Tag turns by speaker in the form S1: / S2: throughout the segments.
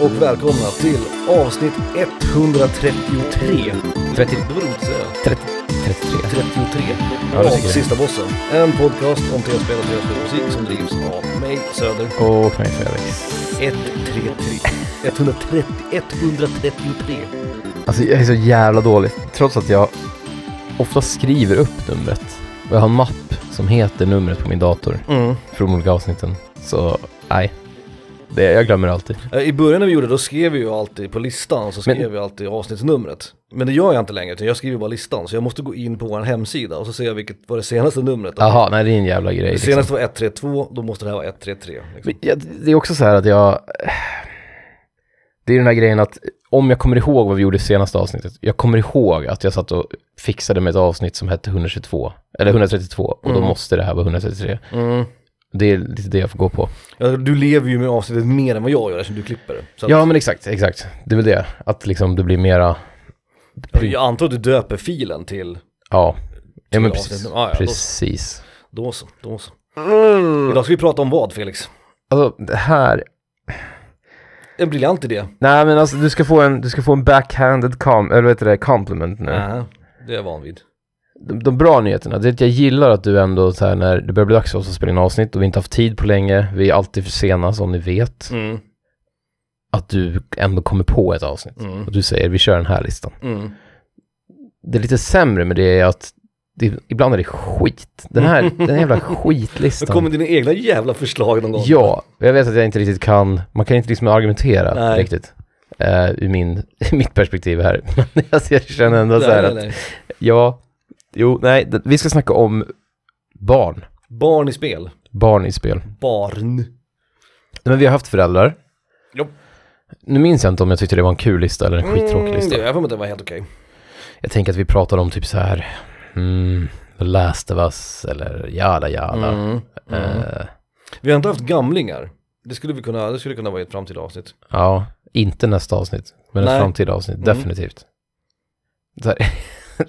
S1: och välkomna till avsnitt 133.
S2: 30... Det var roligt att säga. 30... 33.
S1: 33
S2: Ja, det
S1: av
S2: tycker jag.
S1: Sista Bossen. En podcast om tv-spel och tv-spelmusik som drivs av mig, Söder.
S2: Och mig Felix.
S1: 133. 130. 133.
S2: Alltså jag är så jävla dålig. Trots att jag ofta skriver upp numret. Och jag har en mapp som heter numret på min dator.
S1: Mm.
S2: Från de olika avsnitten. Så nej. Det, jag glömmer alltid.
S1: Eh, I början när vi gjorde det, då skrev vi ju alltid på listan, så skrev
S2: Men-
S1: vi alltid avsnittsnumret. Men det gör jag inte längre, utan jag skriver bara listan. Så jag måste gå in på vår hemsida och så ser jag vilket var det senaste numret.
S2: Jaha, nej det är en jävla grej.
S1: Det
S2: Liksom.
S1: senaste var 132, då måste det här vara 133. Liksom.
S2: Men jag- Det är också så här att jag... Det är den här grejen att om jag kommer ihåg vad vi gjorde i senaste avsnittet. Jag kommer ihåg att jag satt och fixade med ett avsnitt som hette 122. Eller 132. Och då
S1: Mm.
S2: måste det här vara 133.
S1: Mm.
S2: Det är lite det jag får gå på.
S1: Ja, du lever ju med avsnittet mer än vad jag gör eftersom du klipper det. Så att,
S2: Ja, men exakt, exakt. Det är väl det. Att liksom det blir mera...
S1: Jag antar att du döper filen till...
S2: Ja. Ja, men
S1: till
S2: precis.
S1: avsnittet. Ja, ja,
S2: Precis.
S1: Då, då så, då så.
S2: Mm.
S1: Idag ska vi prata om vad Felix?
S2: Alltså, det här...
S1: En briljant idé.
S2: Nej, men alltså du ska få en, du ska få en backhanded com... Eller vad heter det? Compliment nu.
S1: Nej. Det är jag van vid.
S2: De, de bra nyheterna, det är att jag gillar att du ändå så här när det börjar bli dags för oss att spela in avsnitt och vi inte haft tid på länge, vi är alltid för sena som ni vet,
S1: Mm,
S2: att du ändå kommer på ett avsnitt.
S1: mm,
S2: Och du säger, vi kör den här listan.
S1: mm.
S2: Det är lite sämre med det är att det, ibland är det skit. Den här, den här jävla skitlistan.
S1: Då kommer dina egna jävla förslag någon gång.
S2: Ja, jag vet att jag inte riktigt kan, man kan inte liksom argumentera
S1: Nej.
S2: riktigt. eh, ur min, mitt perspektiv här. Men alltså, jag känner ändå
S1: Nej,
S2: så här
S1: nej,
S2: att,
S1: nej.
S2: ja, jo, nej, d- vi ska snacka om barn.
S1: Barn i spel.
S2: Barn i spel.
S1: Barn.
S2: Men vi har haft föräldrar.
S1: Jo.
S2: Nu minns jag inte om jag tyckte det var en kul lista eller en skittråkig
S1: Mm,
S2: lista.
S1: det- jag har för mig att det var helt okej.
S2: Jag tänker att vi pratade om typ så här, mm, The Last of Us eller jada jada.
S1: Mm, mm.
S2: Eh,
S1: Vi har inte haft gamlingar. Det skulle, vi kunna, det skulle kunna vara i ett framtida avsnitt.
S2: Ja, inte nästa avsnitt, men ett
S1: Nej.
S2: framtida avsnitt,
S1: Mm.
S2: definitivt. Så här,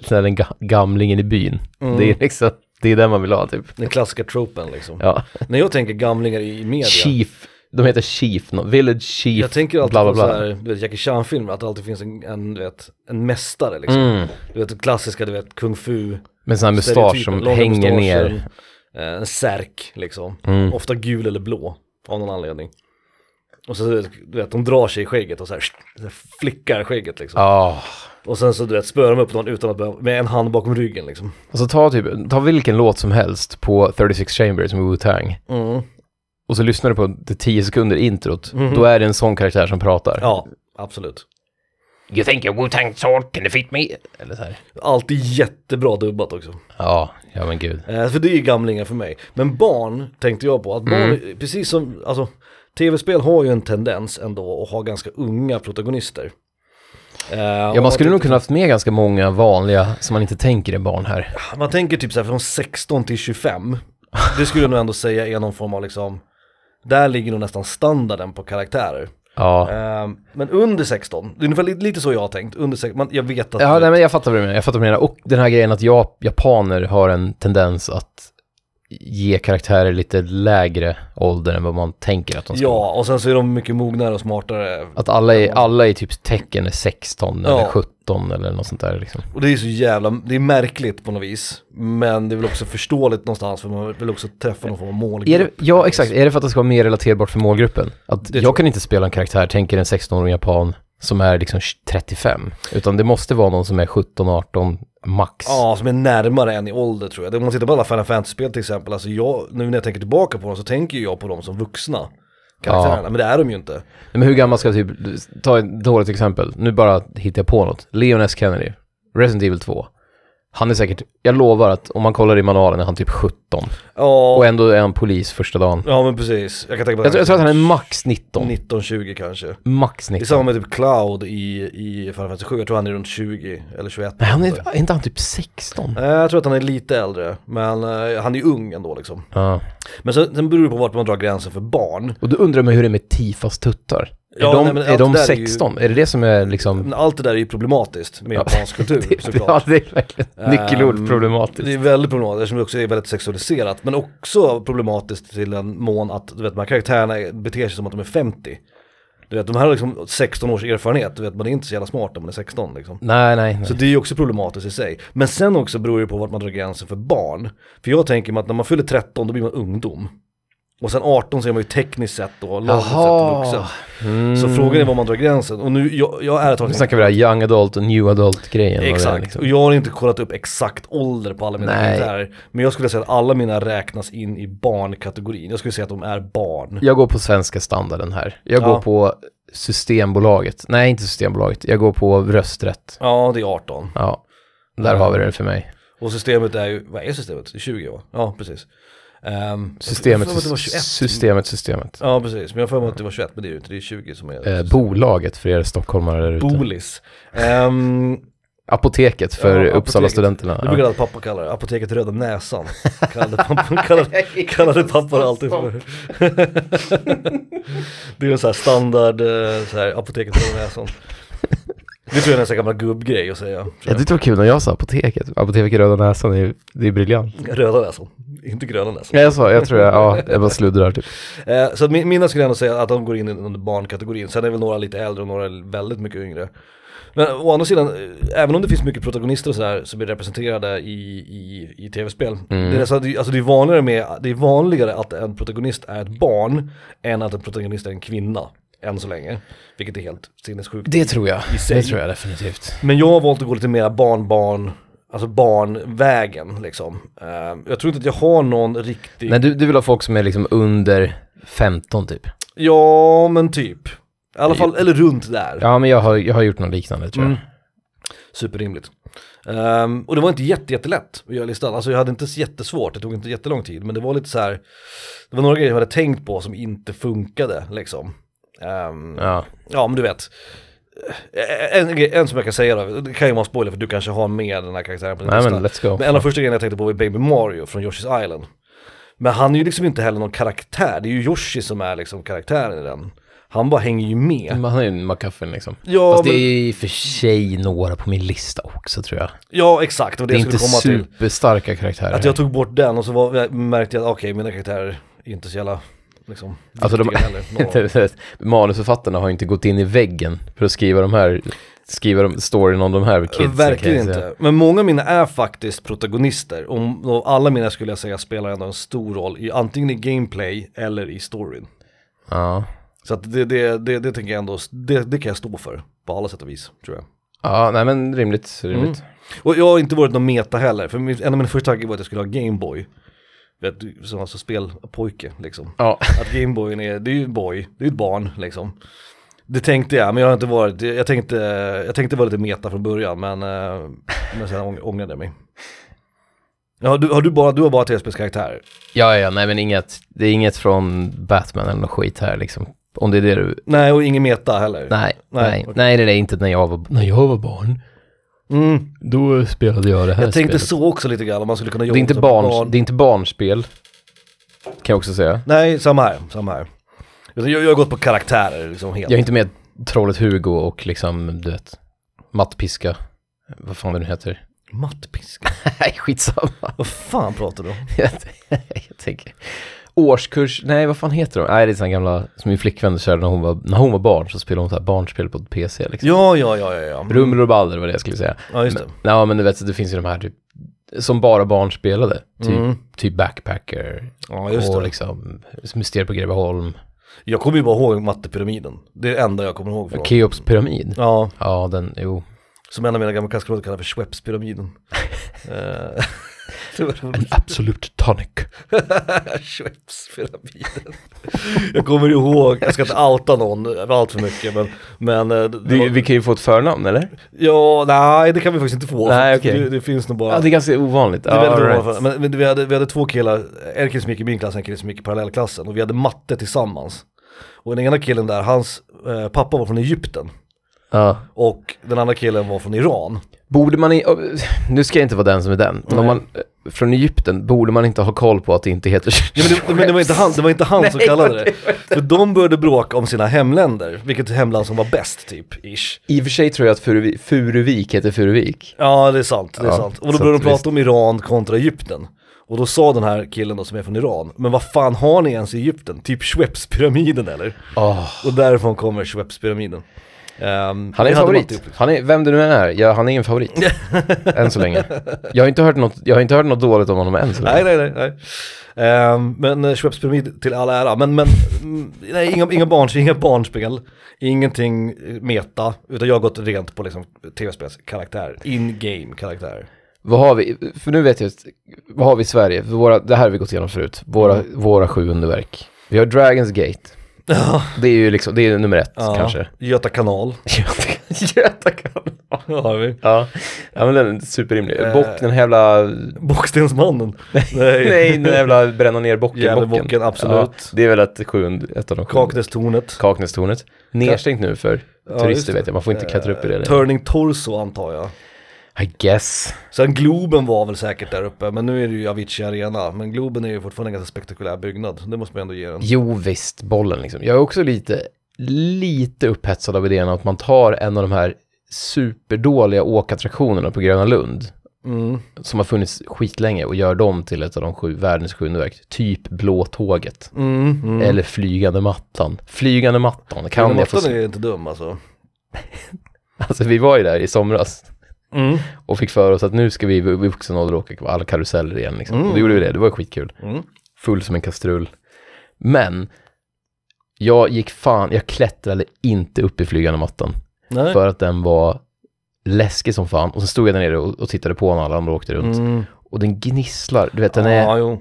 S2: så här den ga- gamlingen i byn,
S1: Mm.
S2: det är liksom, det är den man vill ha typ.
S1: Den klassiska tropen liksom.
S2: Ja.
S1: När jag tänker gamlingar i media.
S2: Chief, de heter Chief, nå- Village Chief,
S1: Jag tänker alltid
S2: bla bla
S1: på så
S2: bla.
S1: här, du vet Jackie Chan-filmer, att det alltid finns en, en, du vet, en mästare liksom.
S2: Mm.
S1: Du vet det klassiska, du vet, kung fu.
S2: Med sån här mustasch
S1: stereotypen,
S2: som
S1: långa
S2: hänger
S1: mustascher,
S2: ner.
S1: eh, En särk liksom.
S2: Mm.
S1: Ofta gul eller blå, av någon anledning. Och så, du vet, du vet, de drar sig i skägget och så här, så här flickar skägget liksom.
S2: Ja.
S1: Och sen så, du vet, spöar de upp någon utan att behöva, med en hand bakom ryggen liksom.
S2: Alltså ta typ, ta vilken låt som helst på 36 Chambers med Wu-Tang
S1: Mm.
S2: och så lyssnar du på det 10 sekunder introt, då är det en sån karaktär som pratar.
S1: Ja, absolut.
S2: You think your Wu-Tang sword can defeat me? Eller så här.
S1: Alltid jättebra dubbat också.
S2: Ja, ja men gud.
S1: Eh, För det är gamlingar för mig. Men barn tänkte jag på, att
S2: Mm.
S1: barn, precis som, alltså tv-spel har ju en tendens ändå att ha ganska unga protagonister. Eh,
S2: Ja,
S1: och
S2: man skulle nog
S1: tänkte-
S2: kunna haft med ganska många vanliga som man inte tänker är barn här.
S1: Man tänker typ så här från 16 till 25, det skulle jag nog ändå säga är någon form av liksom, där ligger nog nästan standarden på karaktärer.
S2: Ja,
S1: Eh, men under 16, det är ungefär lite, lite så jag har tänkt, under 16, man, jag vet att
S2: ja nej, men jag fattar vad du menar. Jag fattar vad du menar. Och den här grejen att ja, japaner har en tendens att ge karaktärer lite lägre ålder än vad man tänker att de ska.
S1: ja, och sen så är de mycket mognare och smartare.
S2: Att alla är, alla är typ tecken är 16
S1: Ja.
S2: eller 17 eller något sånt där liksom.
S1: Och det är så jävla, det är märkligt på något vis. Men det är väl också förståeligt någonstans för man vill också träffa någon form av målgrupp.
S2: Är det, ja, exakt. Är det för att det ska vara mer relaterbart för målgruppen? Att
S1: Det tror
S2: jag kan inte spela en karaktär, tänker en 16-årig japan, som är liksom 35. Utan det måste vara någon som är 17, 18 max.
S1: Ja, som är närmare än i ålder tror jag. Det- Om man tittar på alla Final Fantasy-spel till exempel, alltså jag, nu när jag tänker tillbaka på dem så tänker ju jag på dem som vuxna karaktärerna, men det är de ju inte.
S2: Nej, Men hur gammal ska typ, ta ett dåligt exempel, nu bara hittar jag på något. Leon S. Kennedy, Resident Evil 2. Han är säkert, jag lovar att om man kollar i manualen är han typ 17.
S1: Ja,
S2: Och ändå är han polis första dagen.
S1: ja men precis. Jag kan tänka på
S2: Jag tror, jag tror att han är Liksom. max 19.
S1: 19-20 kanske.
S2: Max
S1: Det är
S2: 19.
S1: samma med typ Cloud i, i Final Fantasy 7, jag tror han är runt 20 eller 21.
S2: Nej, han är, är inte han typ 16?
S1: Eh, Jag tror att han är lite äldre, men eh, han är ju ung ändå liksom.
S2: Ja.
S1: Men sen, sen beror det på vart man drar gränsen för barn.
S2: Och då undrar man hur det är med Tifas tuttar.
S1: Ja,
S2: är de,
S1: nej, men
S2: är
S1: allt
S2: de
S1: det där är
S2: 16? Är, det det som är liksom...
S1: Mm. Men allt det där är ju problematiskt med
S2: Ja.
S1: japansk kultur
S2: Ja,
S1: såklart.
S2: det är verkligen
S1: Ehm,
S2: nyckelord
S1: Det
S2: problematiskt.
S1: är väldigt problematiskt eftersom det också är väldigt sexualiserat. Men också problematiskt till en mån att du vet, de här karaktärerna är- beter sig som att de är 50. Du vet, de här har liksom 16 års erfarenhet, du vet, man är inte så jävla smart om man är 16 liksom.
S2: Nej, nej, nej.
S1: Så det är ju också problematiskt i sig. Men sen också beror det på vart man drar gränsen för barn. För jag tänker mig att när man fyller 13 då blir man ungdom. Och sen 18 så är man ju tekniskt sett då, lagligt sett
S2: Jaha.
S1: vuxen.
S2: Mm.
S1: Så frågan är var man drar gränsen. Och nu, jag, jag är
S2: Nu
S1: tagit
S2: snackar vi det här young adult och new adult-grejen. Och det är
S1: Exakt,
S2: liksom.
S1: och jag har inte kollat upp exakt ålder på alla mina
S2: Nej.
S1: karaktärer. Men jag skulle säga att alla mina räknas in i barnkategorin. Jag skulle säga att de är barn.
S2: Jag går på svenska standarden här. Jag
S1: Ja.
S2: går på Systembolaget. Nej, inte Systembolaget. Jag går på rösträtt.
S1: Ja, det är 18.
S2: Ja, där har vi det för mig.
S1: Och systemet är ju, vad är systemet? Det är 20 år? Ja, precis. Ehm, Jag
S2: Systemet,
S1: har för mig att det var 21.
S2: systemet, systemet.
S1: Ja, precis. Men jag har för mig att det var 21, men det är ju inte, det är 20 som är...
S2: Eh, bolaget för er stockholmare där ute.
S1: Bolis. Ehm,
S2: Apoteket för
S1: Ja, apoteket.
S2: Uppsala-studenterna.
S1: det brukade alltid pappa kalla det, apoteket Röda Näsan. Kallade pappa, kallade, kallade pappa det alltid för. det är en sån här standard, eh, så här, apoteket Röda Näsan. Det tror jag är en sån här gammal gubbgrej att säga. tror
S2: Jag tyckte det var kul när jag sa apoteket. Apoteket Röda Näsan, är, ju- det är briljant.
S1: jag. Röda Näsan, inte Gröna Näsan.
S2: Ja, jag sa, jag tror jag, ja, jag bara sluddrar typ.
S1: Eh, så att min- mina skulle jag ändå säga att de går in under barnkategorin. Sen är väl några lite äldre och några väldigt mycket yngre. Men å andra sidan, eh, även om det finns mycket protagonister och sådär som är representerade i, i, i tv-spel. Det, är så att, det- alltså det, är vanligare med, det är vanligare att en protagonist är ett barn än att en protagonist är en kvinna. Än så länge. Vilket är helt sinnessjukt.
S2: Det tror jag.
S1: I sig.
S2: Det tror jag definitivt.
S1: Men jag har valt att gå lite mer barn-barn, alltså barnvägen liksom. Eh, jag tror inte att jag har någon riktig...
S2: Nej, du, du vill ha folk som är liksom under 15 typ.
S1: Ja, men typ. I alla fall, eller runt där.
S2: Ja, men jag har, jag har gjort något liknande tror jag.
S1: Mm. Superrimligt. Ehm, och det var inte jätte, jättelätt att göra listan. Alltså jag hade inte så jättesvårt, det tog inte jättelång tid. Men det var lite så här, det var några grejer jag hade tänkt på som inte funkade liksom. Ehm, ja.
S2: Ja.
S1: men du vet. Eh, En, grej- en som jag kan säga då, det kan ju vara en spoiler för du kanske har med den här karaktären på din
S2: Nej,
S1: lista.
S2: men let's go.
S1: Men en av första grejerna jag tänkte på var Baby Mario från Yoshi's Island. Men han är ju liksom inte heller någon karaktär, det är ju Yoshi som är liksom karaktären i den. Han bara hänger ju med.
S2: Men han är ju en McGuffin liksom.
S1: Ja,
S2: Mm. Fast det
S1: men-
S2: är i och för sig några på min lista också tror jag.
S1: Ja exakt, det var det,
S2: Det är
S1: jag
S2: inte
S1: skulle komma till.
S2: superstarka karaktärer.
S1: Att jag tog bort den och så var, märkte jag att okej, mina karaktärer är inte så jävla liksom,
S2: Alltså, de-
S1: viktiga heller. Några av-
S2: Manusförfattarna har ju inte gått in i väggen för att skriva de här, skriva de, storyn om de här kidsen. kan
S1: Verkligen
S2: jag säga.
S1: inte. Men många av mina är faktiskt protagonister. Och, och alla mina skulle jag säga spelar ändå en stor roll, i, antingen i gameplay eller i storyn.
S2: Ja.
S1: Så att det, det, det, det tänker jag ändå, det, det kan jag stå för på alla sätt och vis tror jag.
S2: ja, nej men rimligt, rimligt.
S1: Och jag har inte varit någon meta heller, för min, en av mina första tankar var att jag skulle ha Gameboy. Vet du, Som alltså spelpojke liksom.
S2: Ja.
S1: Att Gameboyen är, det är ju en boy, det är ju ett barn liksom. Det tänkte jag, men jag har inte varit, jag tänkte, jag tänkte vara lite meta från början men, eh, men sen ång- ångrade jag mig. Ja, du, har du, bara, du har bara tv-spelskaraktärer?
S2: ja, ja, nej men inget, det är inget från Batman eller något skit här liksom. Om det är det du,
S1: Nej, och ingen meta heller?
S2: nej,
S1: Nej,
S2: nej, nej,
S1: okej.
S2: det är det inte när jag var, när jag var barn.
S1: Mm.
S2: Då spelade jag det här
S1: Jag tänkte
S2: spelet.
S1: så också lite grann, om man skulle kunna jobba
S2: Det är, inte
S1: som
S2: barn, det är inte barnspel, kan jag också säga.
S1: Nej, samma här, samma här. Utan Jag, jag har gått på karaktärer liksom helt.
S2: Jag är inte med trollet Hugo och liksom, du vet, mattpiska. Vad fan det nu heter.
S1: Mattpisk.
S2: Nej, skitsamma.
S1: Vad fan pratar du om?
S2: jag, jag tänker. Årskurs, nej vad fan heter de? Nej det är sådana gamla, som min flickvän körde när hon var, när hon var barn så spelade hon så här barnspel på PC liksom.
S1: Ja, ja, ja, ja, ja.
S2: Rumble och baller var det jag skulle säga.
S1: Ja, just det.
S2: Ja men du vet, så det finns ju de här typ, som bara barn spelade. Typ,
S1: Mm.
S2: typ Backpacker
S1: Ja, just
S2: och
S1: det.
S2: liksom Mysteriet på Greveholm.
S1: Jag kommer ju bara ihåg mattepyramiden. Det är det enda jag kommer ihåg från.
S2: Keops pyramid.
S1: Ja,
S2: Ja den, jo.
S1: Som en av mina gamla klasskamrater kallar för Schweppespyramiden. Eh, det var roligt.
S2: Absolut tonic.
S1: Schweppespyramiden. jag kommer ihåg, jag ska inte outa någon allt för mycket men, men eh, det, det
S2: Vi,
S1: var,
S2: vi kan ju få ett förnamn eller?
S1: ja, nej det kan vi faktiskt inte få. för
S2: Nej,
S1: att
S2: okej.
S1: det, det finns nog bara,
S2: Ja det är ganska ovanligt.
S1: det är väldigt
S2: Ja, right.
S1: ovanför. men, men vi, hade, vi hade två killar, en kille som gick i min klass, en kille som gick i parallellklassen och vi hade matte tillsammans. Och den ena killen där, hans eh, pappa var från Egypten
S2: Ja.
S1: och den andra killen var från Iran.
S2: Borde man, i, nu ska jag inte vara den som är den, men om man, eh, från Egypten, borde man inte ha koll på att det inte heter
S1: Ja, men, det, men det var inte han, det var inte han som
S2: Nej,
S1: kallade det. För de började bråka om sina hemländer, vilket hemland som var bäst typ, ish.
S2: I och för sig tror jag att Furuvik, Furuvik heter Furuvik.
S1: Ja det är sant, det är
S2: Ja,
S1: sant. Och då
S2: så
S1: började de
S2: att
S1: prata
S2: visst.
S1: om Iran kontra Egypten. Och då sa den här killen då som är från Iran, men vad fan har ni ens i Egypten? Typ Schweppespyramiden eller?
S2: Åh.
S1: Och därifrån kommer Schweppespyramiden. Ehm,
S2: Han
S1: det
S2: är en
S1: hade man inte
S2: favorit.
S1: gjort.
S2: Han är, vem det nu än är, ja, han är en favorit. än så länge. Jag har inte hört något, jag har inte hört något dåligt om honom än så länge.
S1: Nej, nej, nej. nej. Ehm, men eh, Schweppespyramid till all ära, men, men mm, nej, inga, inga, barn, inga barnspel, ingenting eh, meta, utan jag har gått rent på liksom tv-spelskaraktär, in-game karaktär.
S2: Vad har vi, för nu vet jag, just- vad har vi i Sverige? Våra, det här har vi gått igenom förut, våra,
S1: Mm.
S2: våra sju underverk. Vi har Dragons Gate. Det är ju liksom, det är nummer ett
S1: Ja,
S2: kanske.
S1: Göta kanal
S2: Göta kanal.
S1: har vi.
S2: Ja. ja, men den är superrimlig.
S1: Eh.
S2: Bock, den här jävla...
S1: Bockstensmannen. Nej,
S2: Nej, den här jävla bränna ner bocken.
S1: Gävlebocken, absolut.
S2: det är väl ett, sjund, ett av de sju.
S1: Kaknästornet.
S2: Kaknästornet. Nedstängt nu för
S1: Ja, just
S2: turister
S1: det. Eh,
S2: vet jag, man får inte klättra upp i det. längre.
S1: Turning Torso antar jag.
S2: I guess.
S1: Sen Globen var väl säkert där uppe, men nu är det ju Avicii Arena. Men Globen är ju fortfarande en ganska spektakulär byggnad, det måste man ändå ge den.
S2: Jo visst, bollen liksom. Jag är också lite, lite upphetsad av idén att man tar en av de här superdåliga åkattraktionerna på Gröna Lund,
S1: Mm.
S2: som har funnits skitlänge, och gör dem till ett av de sju, världens sju underverk. Typ Blå tåget.
S1: Mm, mm.
S2: Eller Flygande mattan. Flygande mattan, kan jag få
S1: Mattan
S2: se?
S1: är inte dum alltså.
S2: Alltså vi var ju där i somras
S1: Mm.
S2: och fick för oss att nu ska vi i vuxen ålder åka på alla karuseller igen liksom.
S1: Mm.
S2: Och då gjorde vi det, det var skitkul.
S1: Mm.
S2: Full som en kastrull. Men, jag gick fan, jag klättrade inte upp i flygande mattan.
S1: Nej.
S2: För att den var läskig som fan. Och sen stod jag där nere och, och tittade på när alla andra åkte runt.
S1: Mm.
S2: Och den gnisslar, du vet den är,
S1: Ja, jo.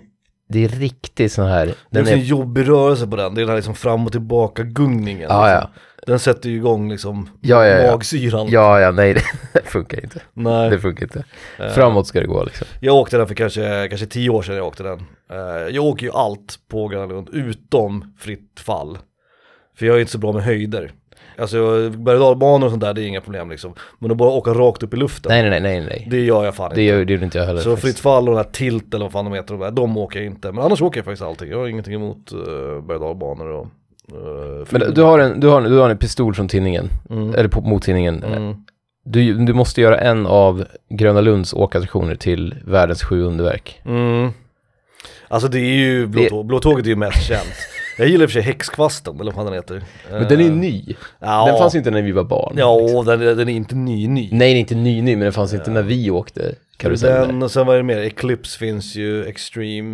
S2: det är riktigt sån här,
S1: Det är
S2: den
S1: en
S2: är,
S1: jobbig rörelse på den, det är den här liksom fram och tillbaka gungningen.
S2: ja ja,
S1: liksom. Den sätter ju igång liksom
S2: ja ja ja,
S1: magsyran.
S2: ja ja, nej det funkar inte,
S1: Nej. Eh,
S2: det funkar inte. Framåt ska det gå liksom.
S1: Jag åkte den för kanske, kanske tio år sedan jag åkte den. Eh, jag åker ju allt på Gröna Lund utom fritt fall. För jag är inte så bra med höjder. Alltså berg och dalbanor och sånt där, det är inga problem liksom. Men att bara åka rakt upp i luften,
S2: Nej nej nej nej nej,
S1: det gör jag fan
S2: det
S1: inte.
S2: gör, det gjorde inte jag heller.
S1: Så
S2: faktiskt.
S1: fritt fall och den här tilt eller vad fan de heter, de, där, de åker jag inte. Men annars åker jag faktiskt allting, jag har ingenting emot uh, berg och dalbanor och... eh,
S2: Men du har, en, du, har en, du har en pistol från tinningen,
S1: Mm.
S2: eller på, mot tinningen.
S1: Mm.
S2: Du, du måste göra en av Gröna Lunds åkattraktioner till världens sju underverk.
S1: Mm. Alltså det är ju, blå,
S2: Det-
S1: tå- blå tåget är ju mest känt. Jag gillar i och för sig häxkvasten, eller vad fan den heter.
S2: Men den är ju ny.
S1: Eh, Ja.
S2: Den fanns ju inte när vi var barn.
S1: Ja, den, den är inte ny ny.
S2: Nej, den är inte ny ny, men den fanns inte när vi åkte karuseller.
S1: Den och sen vad är det mer? Eclipse finns ju, Extreme.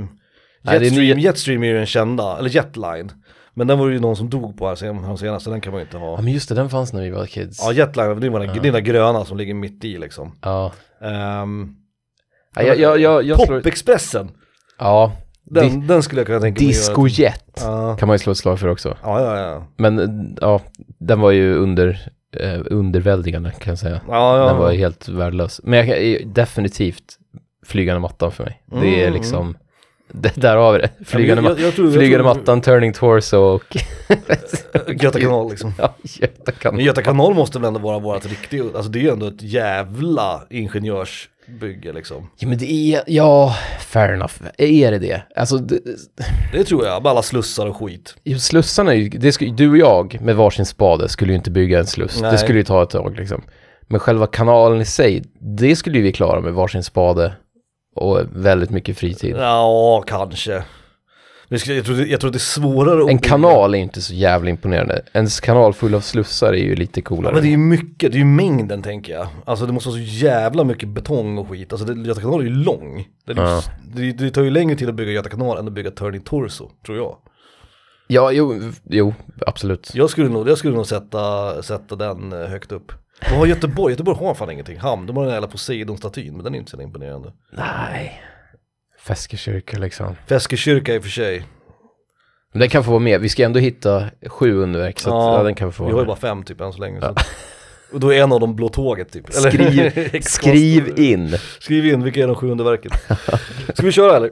S2: Nej, det är
S1: Jetstream,
S2: ny-
S1: Jetstream är ju den kända, eller Jetline. Men den var det ju någon som dog på här sen- här senast, så den kan man ju inte
S2: Ja,
S1: ha.
S2: men just det, den fanns när vi var kids.
S1: Ja, Jetline, det var den, det är den där gröna som ligger mitt i liksom.
S2: Ja.
S1: Um,
S2: Ja, jag, jag, jag, jag slår...
S1: Popexpressen,
S2: Ja. Di-
S1: den, den skulle jag kunna tänka mig att göra.
S2: Discojet
S1: Ja,
S2: kan man ju slå ett slag för också.
S1: ja, ja. ja.
S2: Men eh, ja, den var ju under, eh, underväldigande kan jag säga.
S1: Ja, ja.
S2: Den var ju helt värdelös. Men jag kan, eh, definitivt flygande mattan för mig. det är
S1: Mm,
S2: liksom, det, där har vi det. Flygande,
S1: jag- jag tror-
S2: ma-
S1: jag
S2: flygande
S1: tror-
S2: mattan, turning torso och
S1: Göta kanal liksom.
S2: ja, Göta
S1: Men
S2: kanal.
S1: Göta kanal måste väl ändå vara vårt riktiga, alltså det är ju ändå ett jävla ingenjörsbygge liksom.
S2: Ja, men det är, ja, fair enough. Är det det? Alltså, det,
S1: Det tror jag, med alla slussar och skit.
S2: jo, slussarna är ju, det skulle, du och jag med varsin spade skulle ju inte bygga en sluss.
S1: Nej.
S2: Det skulle ju ta ett tag liksom. Men själva kanalen i sig, det skulle ju vi klara med varsin spade och väldigt mycket fritid.
S1: Ja, kanske. Men Jag tror, jag tror att det är svårare att
S2: En
S1: bygga.
S2: kanal är ju inte så jävla imponerande. En kanal full av slussar är ju lite
S1: Ja,
S2: coolare.
S1: men det är ju mycket, det är ju mängden tänker jag. Alltså det måste vara så jävla mycket betong och skit. Alltså det- Göta kanal är ju lång. Det, är ju-
S2: Ja.
S1: det, det tar ju längre tid att bygga Göta kanal än att bygga Turning Torso, tror jag.
S2: Ja, jo, jo absolut.
S1: Jag skulle nog, jag skulle nog sätta, sätta den eh, högt upp. Vad har Göteborg? Göteborg har fan ingenting. Hamn, de har den här jävla Poseidon-statyn, men den är inte så imponerande.
S2: Nej. Feskekyrka liksom.
S1: Feskekyrka i och för sig.
S2: Men den kan få vara med. Vi ska ändå hitta sju underverk, så att, ja, den kan få
S1: vi
S2: vara
S1: har ju
S2: med.
S1: bara fem typ än så länge. Så. Och då är en av dem Blå Tåget typ. Eller-
S2: Skriv, skriv in.
S1: Skriv in, vilka är de sju underverken? Ska vi köra eller?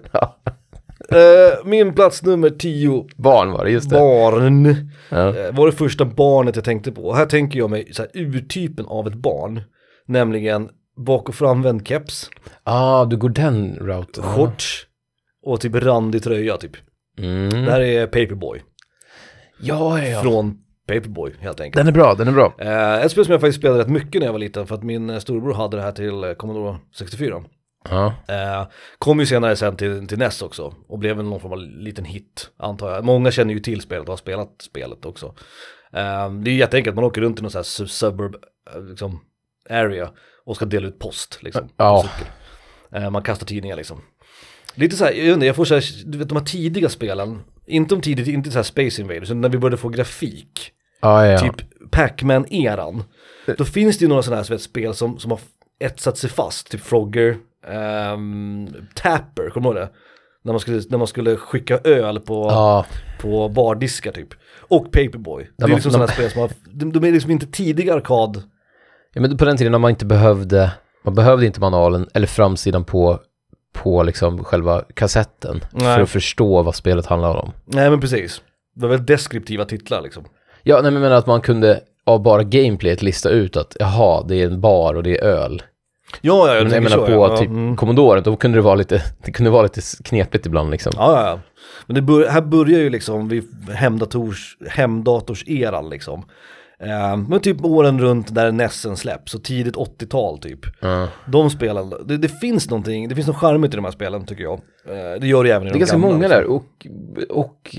S1: Eh, min plats nummer 10,
S2: Barn var det, just det.
S1: barn.
S2: Ja.
S1: Eh, var det första barnet jag tänkte på. Och här tänker jag mig så här, urtypen av ett barn. Nämligen bak och framvänd keps,
S2: Ah, du går den routen.
S1: shorts och typ randig tröja typ. Det
S2: Mm.
S1: här är Paperboy.
S2: Ja, ja, ja.
S1: Från Paperboy helt enkelt.
S2: Den är bra, den är bra.
S1: Eh, ett spel som jag faktiskt spelade rätt mycket när jag var liten för att min eh, storebror hade det här till eh, Commodore 64.
S2: Ja.
S1: Eh, kom ju senare sen till, till NES också och blev väl någon form av liten hit antar jag. Många känner ju till spelet och har spelat spelet också. Eh, det är ju jätteenkelt, man åker runt i någon sån här su- suburb eh, liksom, area och ska dela ut post liksom. på
S2: Ja.
S1: cykel. Eh, man kastar tidningar liksom. Lite så här, jag undrar, jag får så här, du vet de här tidiga spelen, inte om tidigt, inte så här Space Invaders, utan när vi började få grafik
S2: Ja, ja, ja.
S1: typ Pac-Man-eran. Då finns det ju några sådana här så vet, spel som, som har etsat sig fast, typ Frogger, ehm, Tapper, kommer du ihåg det? När man, skulle, när man skulle skicka öl på,
S2: Ja,
S1: på bardiskar typ. Och Paperboy. Det är
S2: man-
S1: liksom
S2: de-
S1: sådana här spel som har, de, de är liksom inte tidiga arkad.
S2: Ja, men på den tiden när man inte behövde, man behövde inte manualen eller framsidan på, på liksom själva kassetten
S1: Nej.
S2: för att förstå vad spelet handlar om.
S1: Nej men precis. Det var väl deskriptiva titlar liksom.
S2: Ja, nej, men jag menar att man kunde av bara gameplayet lista ut att jaha, det är en bar och det är öl.
S1: Ja, ja, jag,
S2: Men jag
S1: tänker
S2: menar
S1: så,
S2: på
S1: ja.
S2: typ
S1: ja, mm.
S2: Commodore, då kunde det vara lite, det kunde vara lite knepigt ibland liksom.
S1: Ja, ja, ja. Men det bör, här börjar ju liksom vid hemdators, hemdatorseran liksom. Eh, men typ åren runt där Nessen släpps, så tidigt 80-tal typ.
S2: Ja.
S1: De spelen, det, det finns någonting, det finns något charmigt i de här spelen tycker jag. Eh, det gör det även i
S2: Det är
S1: de
S2: ganska
S1: gamla,
S2: många
S1: liksom.
S2: där och, och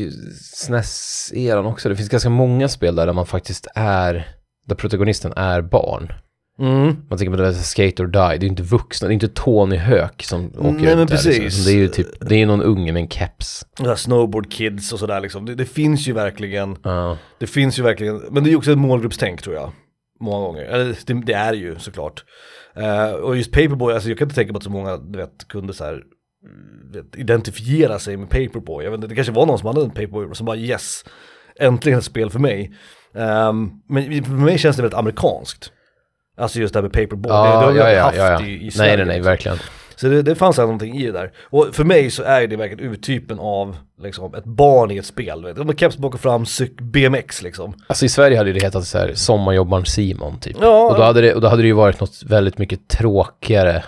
S2: SNES-eran också. Det finns ganska många spel där, där man faktiskt är, där protagonisten är barn.
S1: Mm.
S2: Man tänker på det där Skate or Die, det är ju inte vuxna, det är inte Tony Hök som åker
S1: men
S2: runt där.
S1: precis.
S2: Liksom. Det är ju typ, det är någon unge med en keps.
S1: Och så här Snowboard Kids och sådär liksom. Det, det finns ju verkligen,
S2: Ja.
S1: det finns ju verkligen, men det är ju också ett målgruppstänk tror jag. Många gånger, eller det, det är ju såklart. Eh, och just Paperboy, alltså jag kan inte tänka på att så många du vet, kunde så här mm, vet, identifiera sig med Paperboy. Jag vet inte, det kanske var någon som hade en Paperboy som bara yes, äntligen ett spel för mig. Ehm, men för mig känns det väldigt amerikanskt. Alltså just det här med Paperboy, det, det har vi aldrig haft i, i Sverige. liksom.
S2: Nej, nej, nej, verkligen.
S1: Så det, det fanns någonting i det där. Och för mig så är det verkligen urtypen av liksom, ett barn i ett spel. Vet du. Med keps bak och fram, cyk, BMX liksom.
S2: Alltså i Sverige hade ju det hetat så här, sommarjobbaren Simon typ.
S1: Ja,
S2: och, då hade det, och då hade det ju varit något väldigt mycket tråkigare